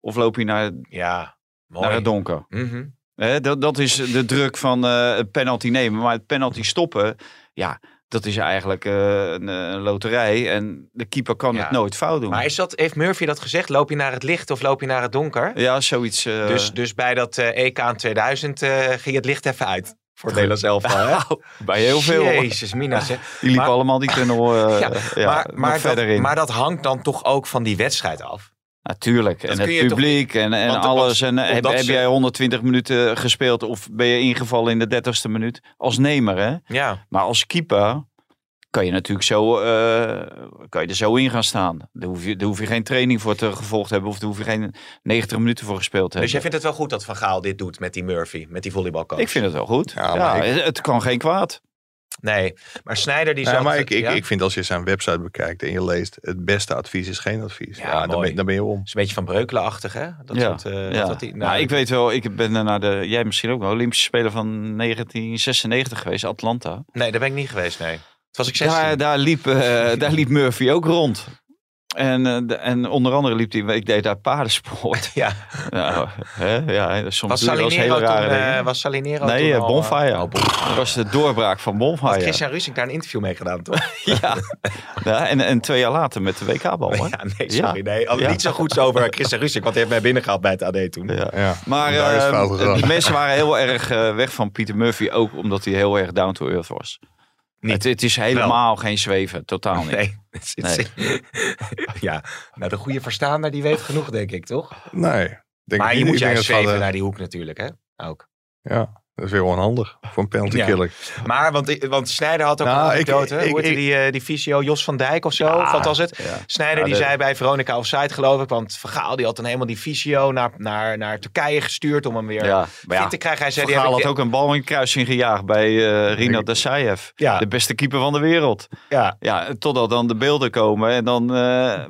Speaker 5: Of loop je naar,
Speaker 3: mij... Ja, mooi.
Speaker 5: naar het donker?
Speaker 3: Mhm.
Speaker 5: Hè, dat, dat is de druk van eh, het penalty nemen. Maar het penalty stoppen, ja, dat is eigenlijk eh, een, eh, een loterij. En de keeper kan
Speaker 3: Ja.
Speaker 5: het nooit fout doen.
Speaker 3: Maar is dat, heeft Murphy dat gezegd? Loop je naar het licht of loop je naar het donker?
Speaker 5: Ja, zoiets. eh,
Speaker 3: Dus, dus bij dat eh, EK in 2000 eh, ging het licht even uit. Voor het Nederlands elftal, hè?
Speaker 5: bij heel veel.
Speaker 3: Jezus, Mina. zeg.
Speaker 5: Die liepen
Speaker 3: Maar-
Speaker 5: allemaal die tunnel eh,
Speaker 3: Ja,
Speaker 5: ja,
Speaker 3: maar,
Speaker 5: nog
Speaker 3: maar,
Speaker 5: verder
Speaker 3: dat,
Speaker 5: in.
Speaker 3: maar dat hangt dan toch ook van die wedstrijd af?
Speaker 5: Natuurlijk. En
Speaker 3: kun je
Speaker 5: het
Speaker 3: toch-
Speaker 5: publiek en, en
Speaker 3: Want-
Speaker 5: alles. En eh,
Speaker 3: want-
Speaker 5: heb,
Speaker 3: omdat
Speaker 5: heb
Speaker 3: ze-
Speaker 5: jij 120 minuten gespeeld of ben je ingevallen in de 30ste minuut? Als nemer, hè?
Speaker 3: Ja,
Speaker 5: Maar als keeper kan je natuurlijk zo, eh, kan je er zo in gaan staan. Daar hoef, je, daar hoef je geen training voor te gevolgd te hebben. Of daar hoef je geen 90 minuten voor gespeeld te
Speaker 3: dus jij
Speaker 5: hebben.
Speaker 3: vindt het wel goed dat Van Gaal dit doet met die Murphy, met die volleybalcoach?
Speaker 5: Ik vind het wel goed.
Speaker 4: Ja,
Speaker 5: Ja,
Speaker 4: maar
Speaker 5: Het kan geen kwaad.
Speaker 3: Nee, maar Snijder die
Speaker 4: Nou Ja,
Speaker 3: zat...
Speaker 4: maar ik, ik,
Speaker 3: ja?
Speaker 4: ik vind als je zijn website bekijkt en je leest... het beste advies is geen advies.
Speaker 3: Ja,
Speaker 4: Ja, dan,
Speaker 3: mooi.
Speaker 4: ben, dan ben je om.
Speaker 3: is een beetje van Breukelen-achtig, hè? Dat
Speaker 5: ja.
Speaker 3: soort, eh,
Speaker 5: ja.
Speaker 3: dat- dat die-
Speaker 5: nou, ik weet wel, ik ben naar de, jij misschien ook wel, Olympische Spelen van 1996 geweest, Atlanta.
Speaker 3: Nee, daar ben ik niet geweest, nee. Het was ik 16.
Speaker 5: Daar, daar, liep, eh, daar liep Murphy ook rond. En, eh, de- en onder andere liep hij, ik deed daar paardensport.
Speaker 3: Ja.
Speaker 5: nou, hè? Ja, soms
Speaker 3: Was
Speaker 5: doe je wel eens
Speaker 3: Salinero
Speaker 5: hele
Speaker 3: toen...
Speaker 5: rare
Speaker 3: eh,
Speaker 5: dingen.
Speaker 3: was Salinero
Speaker 5: Nee,
Speaker 3: toen
Speaker 5: eh,
Speaker 3: al, eh,
Speaker 5: Bonfire.
Speaker 3: Oh, Bonfire.
Speaker 5: Dat was de doorbraak van
Speaker 3: Had
Speaker 5: Bonfire.
Speaker 3: Christian Rusink daar een interview mee gedaan, toch?
Speaker 5: Ja. ja, en, en twee jaar later met de WK-bal. hoor.
Speaker 3: Oh Ja, nee, sorry.
Speaker 5: Ja.
Speaker 3: Nee, Oh,
Speaker 5: Ja.
Speaker 3: Niet zo goed over Christian Rusik, want hij heeft mij binnengehaald bij het AD toen.
Speaker 5: Ja.
Speaker 4: Ja,
Speaker 5: Maar
Speaker 4: daar is
Speaker 5: ehm,
Speaker 4: fout gegaan.
Speaker 5: die mensen waren heel erg eh, weg van Pieter Murphy. Ook omdat hij heel erg down to earth was.
Speaker 3: Niet.
Speaker 5: Het, het is helemaal geen zweven. Totaal niet.
Speaker 3: Nee. het is- ja, nou de goede verstaander die weet genoeg, denk ik, toch?
Speaker 4: Nee. ik Denk
Speaker 3: maar
Speaker 4: het
Speaker 3: je
Speaker 4: niet.
Speaker 3: moet
Speaker 4: Ik denk
Speaker 3: juist
Speaker 4: dat ze hadden-
Speaker 3: zweven naar die hoek natuurlijk, hè? Ook.
Speaker 4: Ja, dat is weer onhandig voor een penalty
Speaker 3: Ja.
Speaker 4: killer.
Speaker 3: Maar, want, want Snijder had ook
Speaker 4: Nou,
Speaker 3: een
Speaker 4: ik-
Speaker 3: anekdote.
Speaker 4: ik-
Speaker 3: Hoe heette
Speaker 4: ik-
Speaker 3: die, eh, die fysio Jos van Dijk of zo? Of wat was het?
Speaker 5: ja.
Speaker 3: Snijder
Speaker 5: Ja,
Speaker 3: die
Speaker 5: de-
Speaker 3: zei bij Veronica Offside, geloof ik. Want Vergaal die had dan helemaal die fysio naar, naar, naar Turkije gestuurd om hem weer
Speaker 5: Ja, maar
Speaker 3: fit
Speaker 5: ja.
Speaker 3: te krijgen. Hij zei,
Speaker 5: Van
Speaker 3: die heb
Speaker 5: Gaal
Speaker 3: ik-
Speaker 5: had ook een bal in het kruising gejaagd bij eh Rino Dasaev.
Speaker 3: Ja.
Speaker 5: De beste keeper van de wereld.
Speaker 3: ja,
Speaker 5: Ja, totdat dan de beelden komen en dan eh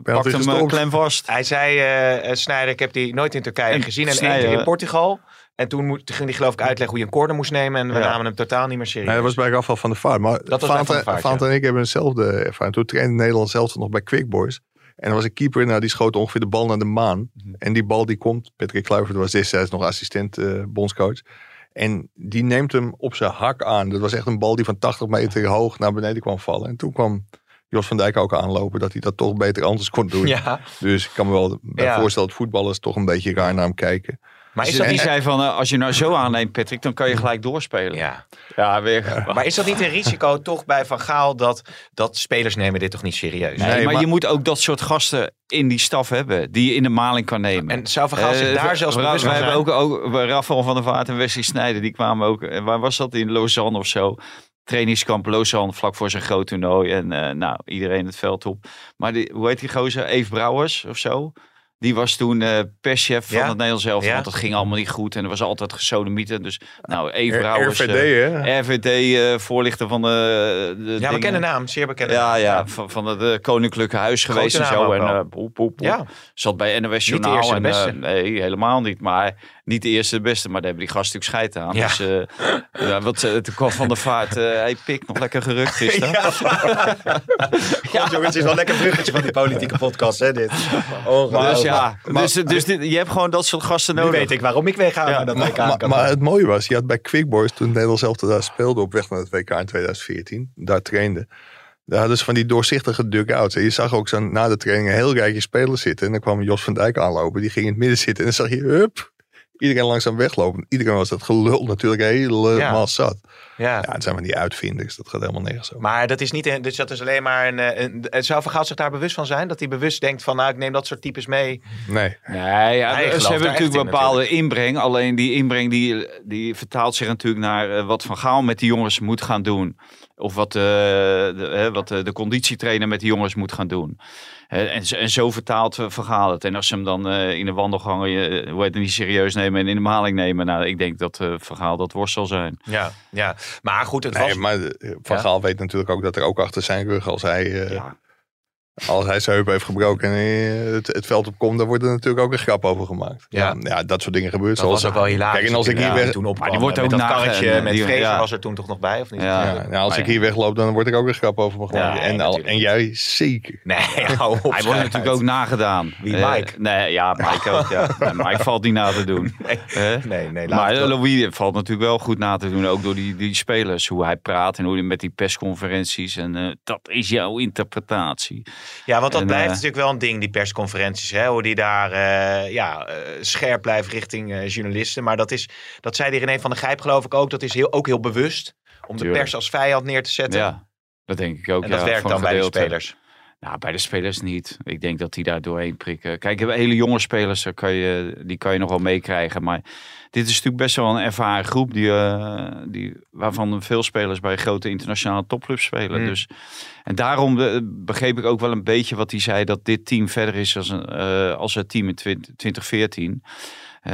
Speaker 5: pakt hem eh,
Speaker 4: gestopt.
Speaker 5: klem vast.
Speaker 3: Hij zei, eh eh, Snijder, ik heb die nooit in Turkije
Speaker 5: En eh,
Speaker 3: gezien en één
Speaker 5: Sneijder-
Speaker 3: keer in Portugal. En toen moet, ging hij geloof ik uitleggen hoe je een corner moest nemen. En we
Speaker 5: Ja.
Speaker 3: namen hem totaal niet meer serieus.
Speaker 4: Nee, dat was bij het afval van de vaart. Maar
Speaker 3: Dat was bij
Speaker 4: Vaart-
Speaker 3: Van de Vaart,
Speaker 4: Vaart en ik hebben hetzelfde ervaring. Toen trainde Nederland zelf nog bij Quick Boys. En er was een keeper, nou, die schoot ongeveer de bal naar de maan.
Speaker 3: Mhm.
Speaker 4: En die bal die komt, Patrick Kluivert was destijds nog assistent eh, bondscoach. En die neemt hem op zijn hak aan. Dat was echt een bal die van 80 meter hoog naar beneden kwam vallen. En toen kwam Jos van Dijk ook aanlopen dat hij dat toch beter anders kon doen.
Speaker 3: Ja,
Speaker 4: Dus ik kan me wel bij
Speaker 3: Ja.
Speaker 4: voorstellen dat voetballers toch een beetje raar naar hem kijken.
Speaker 3: maar is
Speaker 5: Dus
Speaker 3: dat
Speaker 5: die
Speaker 3: niet...
Speaker 5: zei van, eh, als je nou zo aanneemt Patrick, dan kan je gelijk doorspelen.
Speaker 3: Ja.
Speaker 5: Ja, weer. Maar,
Speaker 3: Maar is dat niet een risico toch bij Van Gaal dat, dat spelers nemen dit toch niet serieus?
Speaker 5: nee,
Speaker 4: Nee,
Speaker 5: maar,
Speaker 4: maar-
Speaker 5: je moet ook dat soort gasten in die staf hebben. Die je in de maling kan nemen.
Speaker 3: En zou Van Gaal zich
Speaker 5: Eh,
Speaker 3: daar zelfs
Speaker 5: we,
Speaker 3: bewust
Speaker 5: we
Speaker 3: van
Speaker 5: hebben
Speaker 3: zijn?
Speaker 5: ook, ook bij Rafael van der Vaart en Wesley Snijder. Die kwamen ook. eh, Waar was dat? In Lausanne of zo. Trainingskamp Lausanne vlak voor zijn groot toernooi. En eh, nou, iedereen het veld op. Maar die, hoe heet die gozer? Eve Brouwers of zo. Die was toen eh, perschef van
Speaker 3: Ja?
Speaker 5: het Nederlands zelf.
Speaker 3: Ja?
Speaker 5: Want dat ging allemaal niet goed. En er was altijd gesodemieten. Dus nou, Eve Brouwers.
Speaker 4: RVD,
Speaker 5: eh,
Speaker 4: hè?
Speaker 5: RVD, eh, voorlichter van de, eh, de
Speaker 3: Ja,
Speaker 5: dingen.
Speaker 3: bekende naam, zeer bekende
Speaker 5: Ja,
Speaker 3: naam.
Speaker 5: ja, van, van het eh, Koninklijke Huis
Speaker 3: Grote
Speaker 5: geweest en
Speaker 3: naam ook
Speaker 5: zo. En,
Speaker 3: wel.
Speaker 5: eh, boep, boep, boep.
Speaker 3: Ja.
Speaker 5: Zat bij NOS
Speaker 3: Niet de
Speaker 5: Journaal.
Speaker 3: eerste de
Speaker 5: en, eh,
Speaker 3: beste.
Speaker 5: nee, helemaal niet. Maar niet de eerste de beste. Maar daar hebben die gasten natuurlijk scheid aan.
Speaker 3: Ja.
Speaker 5: Dus, eh, ja, wat, eh, toen kwam Van der Vaart. eh, hey, pik, nog lekker gerukt gisteren.
Speaker 3: Ja. God, jongens, het is wel een lekker bruggetje van die politieke podcast, hè, dit. Oh,
Speaker 5: Dus ja, dus, dus dit, je hebt gewoon dat soort gasten
Speaker 3: Nu
Speaker 5: nodig.
Speaker 3: weet ik waarom ik wegga
Speaker 5: Ja,
Speaker 3: naar dat WK.
Speaker 4: Maar,
Speaker 3: kan.
Speaker 4: maar het mooie was, je had bij Quick Boys, toen Nederland zelf daar speelde op weg naar het WK in 2014, daar trainde. Daar hadden ze van die doorzichtige dugouts. En je zag ook zo na de training een heel rijtje spelers zitten. En dan kwam Jos van Dijk aanlopen, die ging in het midden zitten. En dan zag je, hup, iedereen langzaam wegloopt. Iedereen was dat gelul natuurlijk helemaal
Speaker 3: Ja.
Speaker 4: zat.
Speaker 3: Ja.
Speaker 4: Ja, het zijn van die uitvinders. Dat gaat helemaal nergens over.
Speaker 3: Maar dat is niet, dus dat is alleen maar een, eh, een, en zou Van Gaal zich daar bewust van zijn? Dat hij bewust denkt van, nou, ik neem dat soort types mee.
Speaker 4: Nee.
Speaker 5: Nee, ja,
Speaker 3: Hij gelooft
Speaker 5: ze
Speaker 3: daar echt
Speaker 5: hebben natuurlijk
Speaker 3: in,
Speaker 5: een bepaalde inbreng. Alleen die inbreng die, die vertaalt zich natuurlijk naar eh, wat Van Gaal met die jongens moet gaan doen. Of wat, eh, de, hè, wat eh, de conditietrainer met die jongens moet gaan doen. Hè, en, zo- en zo vertaalt eh, Van Gaal het. En als ze hem dan eh, in de wandelgangen eh, hoe heet het, niet serieus nemen en in de maling nemen. Nou, ik denk dat eh Van Gaal dat worst zal zijn.
Speaker 3: Ja, ja. Maar goed, het
Speaker 4: Nee,
Speaker 3: was...
Speaker 4: maar eh, Van
Speaker 3: Ja.
Speaker 4: Gaal weet natuurlijk ook dat er ook achter zijn rug, als hij, eh,
Speaker 5: Ja.
Speaker 4: als hij zijn heup heeft gebroken en eh, het, het veld opkomt, dan wordt er natuurlijk ook een grap over gemaakt.
Speaker 3: Ja.
Speaker 4: Ja, ja dat soort dingen gebeurt.
Speaker 3: Dat was ook wel hilarisch.
Speaker 4: Kijk, en als ik hier
Speaker 3: natuurlijk,
Speaker 4: weg,
Speaker 3: toen opkwam,
Speaker 5: Maar die wordt
Speaker 3: met
Speaker 5: ook
Speaker 3: dat
Speaker 5: nage-
Speaker 3: karretje,
Speaker 5: en,
Speaker 3: met
Speaker 5: die-
Speaker 3: Vrezer
Speaker 5: ja.
Speaker 3: was er toen toch nog bij, of niet?
Speaker 5: Ja.
Speaker 4: ja, nou, als
Speaker 3: Maar
Speaker 4: ik
Speaker 3: ja.
Speaker 4: hier wegloop, dan wordt er ook een grap over me gemaakt.
Speaker 3: Ja,
Speaker 4: en, al,
Speaker 3: natuurlijk.
Speaker 4: en jij zeker.
Speaker 3: Nee, hou op.
Speaker 5: Hij wordt
Speaker 3: schijt.
Speaker 5: natuurlijk ook nagedaan.
Speaker 3: Wie,
Speaker 5: Eh,
Speaker 3: Mike?
Speaker 5: nee, ja, Mike ook. Ja. Nee, Mike valt niet na te doen. Eh?
Speaker 3: Nee, nee, laat
Speaker 5: Maar
Speaker 3: het ook.
Speaker 5: Louis valt natuurlijk wel goed na te doen. Ook door die, die spelers. Hoe hij praat en hoe hij met die persconferenties. En eh, dat is jouw interpretatie.
Speaker 3: Ja, want dat
Speaker 5: En,
Speaker 3: blijft
Speaker 5: eh,
Speaker 3: natuurlijk wel een ding, die persconferenties. Hè? Hoe die daar eh, ja, eh, scherp blijft richting eh, journalisten. Maar dat, is, dat zei die René van der Gijp geloof ik ook. Dat is heel, ook heel bewust om de
Speaker 5: Tuurlijk.
Speaker 3: pers als vijand neer te zetten.
Speaker 5: Ja, dat denk ik ook.
Speaker 3: eh, en
Speaker 5: ja,
Speaker 3: dat werkt
Speaker 5: voor
Speaker 3: dan
Speaker 5: een
Speaker 3: bij de
Speaker 5: gedeelte.
Speaker 3: spelers.
Speaker 5: Nou, bij de spelers niet. Ik denk dat die daar doorheen prikken. Kijk, hele jonge spelers, daar kan je, die kan je nog wel meekrijgen. Maar dit is natuurlijk best wel een ervaren groep. Die, eh, die, waarvan veel spelers bij grote internationale topclubs spelen.
Speaker 3: Hmm.
Speaker 5: Dus, en daarom eh, begreep ik ook wel een beetje wat hij zei. Dat dit team verder is als, een, eh, als het team in 20, 2014. Eh,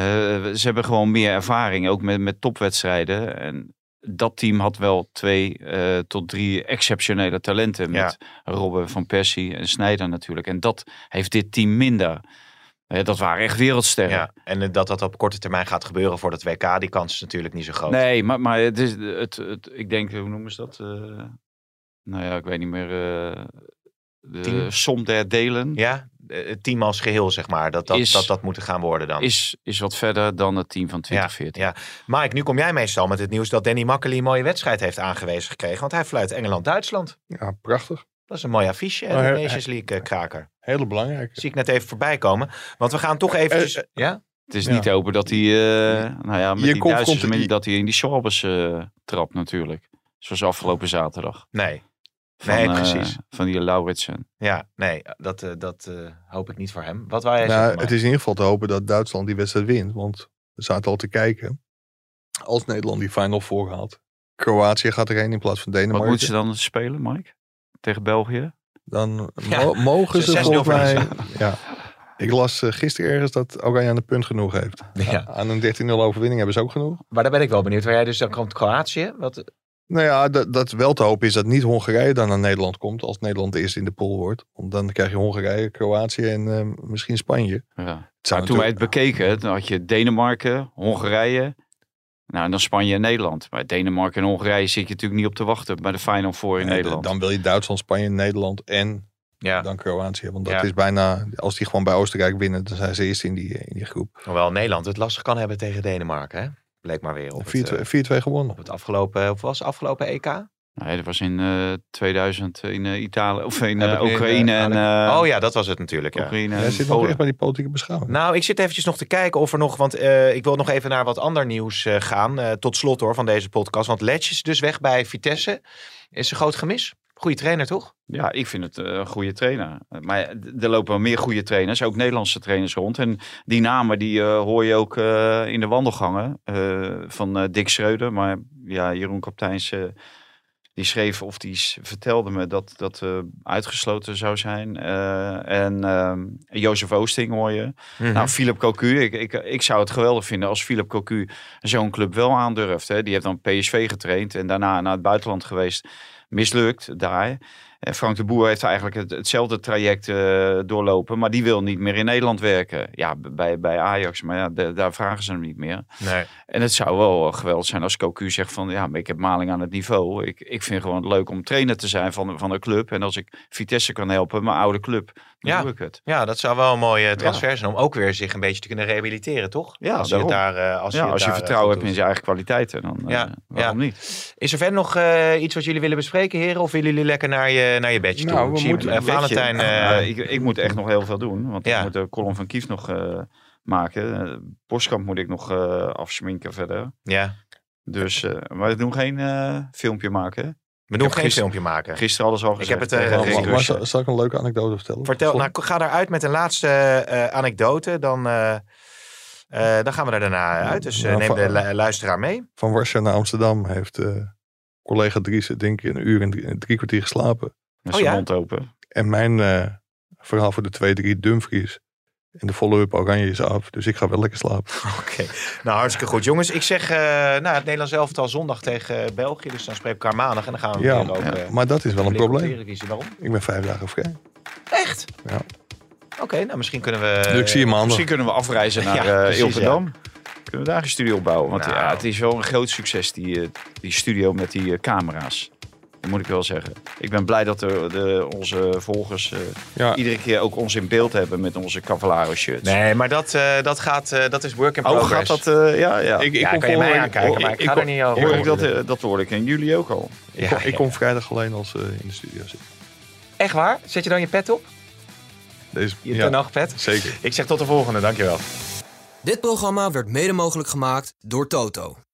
Speaker 5: ze hebben gewoon meer ervaring. Ook met, met topwedstrijden. En dat team had wel twee eh, tot drie exceptionele talenten. Met Robben van Persie en Snijder natuurlijk. En dat heeft dit team minder. Eh, dat waren echt wereldsterren.
Speaker 3: Ja. En eh, dat dat op korte termijn gaat gebeuren voor dat WK, die kans is natuurlijk niet zo groot.
Speaker 5: Nee, maar, maar het is, het, het, ik denk, hoe noemen ze dat? Eh, nou ja, ik weet niet meer. eh, de
Speaker 3: Team?
Speaker 5: som der delen
Speaker 3: Ja, eh, het team als geheel, zeg maar. Dat dat,
Speaker 5: Is-
Speaker 3: dat, dat moet gaan worden dan.
Speaker 5: is, is wat verder dan het team van
Speaker 3: ja,
Speaker 5: 2014.
Speaker 3: ja. Mike, nu kom jij meestal met het nieuws dat Danny Makkely een mooie wedstrijd heeft aangewezen gekregen. Want hij fluit Engeland-Duitsland.
Speaker 4: Ja, prachtig.
Speaker 3: Dat is een mooi affiche, hè,
Speaker 4: Maar
Speaker 3: de
Speaker 4: hij-
Speaker 3: Nations League eh, kraker.
Speaker 4: Hele belangrijke.
Speaker 3: Zie ik net even voorbij komen. Want we gaan toch eventjes...
Speaker 4: eh,
Speaker 3: ja?
Speaker 5: Het is
Speaker 4: Ja.
Speaker 5: niet open dat hij, eh, nou ja, met
Speaker 4: Je
Speaker 5: die
Speaker 4: komt-
Speaker 5: Duitsers,
Speaker 4: komt-
Speaker 5: met- dat hij in die Sorbers eh trapt natuurlijk. Zoals afgelopen zaterdag.
Speaker 3: Nee.
Speaker 5: Van,
Speaker 3: Nee,
Speaker 5: eh,
Speaker 3: precies.
Speaker 5: van die Lauritsen.
Speaker 3: Ja, nee. Dat, eh, dat eh, hoop ik niet voor hem. Wat wou jij zeggen?
Speaker 4: Nou,
Speaker 3: Mike?
Speaker 4: het is in ieder geval te hopen dat Duitsland die wedstrijd wint. Want we zaten al te kijken. Als Nederland die Final Four haalt. Kroatië gaat erheen in plaats van
Speaker 5: Wat moeten
Speaker 4: Denemarken.
Speaker 5: ze dan spelen, Mike? Tegen België?
Speaker 4: Dan
Speaker 3: Ja,
Speaker 4: mo- mogen
Speaker 3: ze
Speaker 4: ze
Speaker 3: 6-0
Speaker 4: volgens mij... Ja. Ik las eh, gisteren ergens dat Oranje aan de punt genoeg heeft.
Speaker 3: Ja.
Speaker 4: Aan een 13-0 overwinning hebben ze ook genoeg.
Speaker 3: Maar daar ben ik wel benieuwd. Waar jij dus dan komt Kroatië. Wat,
Speaker 4: Nou ja, dat, dat wel te hopen is dat niet Hongarije dan naar Nederland komt. Als Nederland eerst in de pool wordt. Want dan krijg je Hongarije, Kroatië en eh, misschien Spanje.
Speaker 5: Ja.
Speaker 4: Het zou
Speaker 5: Maar toen wij
Speaker 4: natuurlijk-
Speaker 5: het bekeken, toen had je Denemarken, Hongarije. Nou, en dan Spanje en Nederland. Maar Denemarken en Hongarije zit je natuurlijk niet op te wachten bij de Final Four in
Speaker 4: Nee, d-
Speaker 5: Nederland.
Speaker 4: Dan wil je Duitsland, Spanje, Nederland en
Speaker 3: ja.
Speaker 4: dan Kroatië. Want dat
Speaker 3: Ja.
Speaker 4: is bijna, als die gewoon bij Oostenrijk winnen, dan zijn ze eerst in die, in die groep.
Speaker 3: Hoewel Nederland het lastig kan hebben tegen Denemarken. Hè? Bleek maar weer op
Speaker 4: 4-2
Speaker 3: het, eh,
Speaker 4: gewonnen.
Speaker 3: op het afgelopen... Of was het afgelopen E EK?
Speaker 5: Nee, dat was in eh, 2000 in eh, Italië of in
Speaker 3: Heb
Speaker 5: eh,
Speaker 3: ik nu, eh,
Speaker 5: Oekraïne en eh,
Speaker 3: oh ja, dat was het natuurlijk. Ja.
Speaker 5: Oekraïne
Speaker 4: Jij
Speaker 5: en
Speaker 4: zit nog
Speaker 5: Polen.
Speaker 4: echt bij die politieke beschouwing.
Speaker 3: Nou, ik zit eventjes nog te kijken of er nog... Want eh, ik wil nog even naar wat ander nieuws eh, gaan. eh, tot slot hoor, van deze podcast. Want Letch is dus weg bij Vitesse. Is een groot gemis. Goeie trainer, toch?
Speaker 5: Ja, ik vind het eh, een goede trainer. Maar d- er lopen wel meer goede trainers, ook Nederlandse trainers rond. En die namen die eh, hoor je ook eh, in de wandelgangen eh, van eh, Dick Schreuder. Maar ja, Jeroen Kapteins eh, die schreef of die s- vertelde me dat dat eh, uitgesloten zou zijn. Eh, en ehm, Jozef Oosting hoor je. Nou, Philip Cocu, ik, ik, ik zou het geweldig vinden als Philip Cocu zo'n club wel aandurft. Hè. Die heeft dan PSV getraind en daarna naar het buitenland geweest. Mislukt daar. En Eh, Frank de Boer heeft eigenlijk het, hetzelfde traject eh, doorlopen. Maar die wil niet meer in Nederland werken. Ja, b- bij, bij Ajax. Maar ja, de- daar vragen ze hem niet meer.
Speaker 3: nee.
Speaker 5: En het zou wel eh, geweldig zijn als Cocu zegt van... Ja, maar ik heb maling aan het niveau. Ik, ik vind gewoon het leuk om trainer te zijn van, van een club. En als ik Vitesse kan helpen, mijn oude club, dan
Speaker 3: Ja.
Speaker 5: doe ik het.
Speaker 3: Ja, dat zou wel een mooie transfer zijn om ook weer zich een beetje te kunnen rehabiliteren, toch?
Speaker 5: Ja,
Speaker 3: als je, het daar,
Speaker 5: daarom.
Speaker 3: eh, als
Speaker 5: Als ja,
Speaker 3: je,
Speaker 5: als je vertrouwen hebt in
Speaker 3: je.
Speaker 5: zijn eigen kwaliteiten, dan eh,
Speaker 3: Ja,
Speaker 5: waarom niet?
Speaker 3: Is er verder nog eh, iets wat jullie willen bespreken, heren? Of willen jullie lekker naar je je, naar je badge
Speaker 4: Nou,
Speaker 3: toe.
Speaker 4: we
Speaker 3: Ik zie,
Speaker 4: moeten
Speaker 3: eh,
Speaker 4: een
Speaker 3: Valentijn, eh,
Speaker 5: ik, ik moet echt nog heel veel doen. Want
Speaker 3: Ja.
Speaker 5: ik moet de column van Kief nog eh, maken. Eh Boskamp moet ik nog eh, afsminken verder.
Speaker 3: ja.
Speaker 5: Dus, eh, maar we doen geen eh, filmpje maken. hè?
Speaker 3: We doen
Speaker 5: heb
Speaker 3: geen
Speaker 5: gisteren-
Speaker 3: filmpje maken.
Speaker 5: Gisteren alles al gezegd.
Speaker 3: heb het, eh,
Speaker 5: tegen
Speaker 3: Ja,
Speaker 4: Maar-
Speaker 5: Rick
Speaker 4: maar-
Speaker 3: zeker.
Speaker 4: maar zal,
Speaker 5: Russen.
Speaker 4: zal ik een leuke anekdote vertellen?
Speaker 3: Vertel,
Speaker 4: Voor-
Speaker 3: nou, ga daaruit met een laatste eh, anekdote. Dan, eh, eh, dan gaan we daar daarna uit. Dus eh,
Speaker 4: Nou,
Speaker 3: neem
Speaker 4: va-
Speaker 3: de lu- luisteraar mee.
Speaker 4: Van Warschau naar Amsterdam heeft eh, collega Dries denk ik een uur en drie, drie kwartier geslapen.
Speaker 5: Met
Speaker 3: Oh,
Speaker 5: zijn
Speaker 3: ja?
Speaker 5: mond open.
Speaker 4: En mijn eh, verhaal voor de 2-3 Dumfries en de follow-up Oranje is af. Dus ik ga wel lekker slapen.
Speaker 3: Oké. Nou, hartstikke goed. Jongens, ik zeg eh, nou, het Nederlands elftal zondag tegen eh, België. Dus dan spreek ik elkaar maandag. En dan gaan we
Speaker 4: Ja,
Speaker 3: weer ook... eh,
Speaker 4: Maar dat is wel een
Speaker 3: flink op
Speaker 4: probleem.
Speaker 3: teren kiezen. Waarom?
Speaker 4: Ik ben vijf dagen vrij.
Speaker 3: Echt?
Speaker 4: Ja.
Speaker 3: Oké, nou misschien kunnen we...
Speaker 4: Dus ik zie je maandag.
Speaker 5: Misschien kunnen we afreizen naar
Speaker 3: Ja,
Speaker 5: eh,
Speaker 3: precies,
Speaker 5: Ilverdam. Kunnen we daar een studio opbouwen? Want
Speaker 3: Nou.
Speaker 5: ja, het is wel een groot succes, die, eh, die studio met die eh, camera's. Dat moet ik wel zeggen. Ik ben blij dat de, de- onze volgers eh,
Speaker 4: Ja.
Speaker 5: iedere keer ook ons in beeld hebben met onze Cavallaro-shirts.
Speaker 3: Nee, maar dat, eh, dat, gaat, eh, dat is work in
Speaker 5: Oh,
Speaker 3: progress.
Speaker 5: gaat dat? eh, ja, ja.
Speaker 4: Ik, ik
Speaker 3: Ja,
Speaker 4: kom
Speaker 3: kan je mij
Speaker 4: volgende-
Speaker 3: aankijken, maar ik ga er niet over.
Speaker 5: hoor ik dat, eh, dat hoor ik en jullie ook al.
Speaker 4: Ik, kom, ik kom vrijdag alleen als eh, in de studio zit.
Speaker 3: Echt waar? Zet je dan je pet op?
Speaker 4: Deze,
Speaker 3: Je
Speaker 4: ja,
Speaker 3: ten acht pet?
Speaker 4: zeker.
Speaker 3: Ik zeg tot de volgende, dankjewel.
Speaker 1: Dit programma werd mede mogelijk gemaakt door Toto.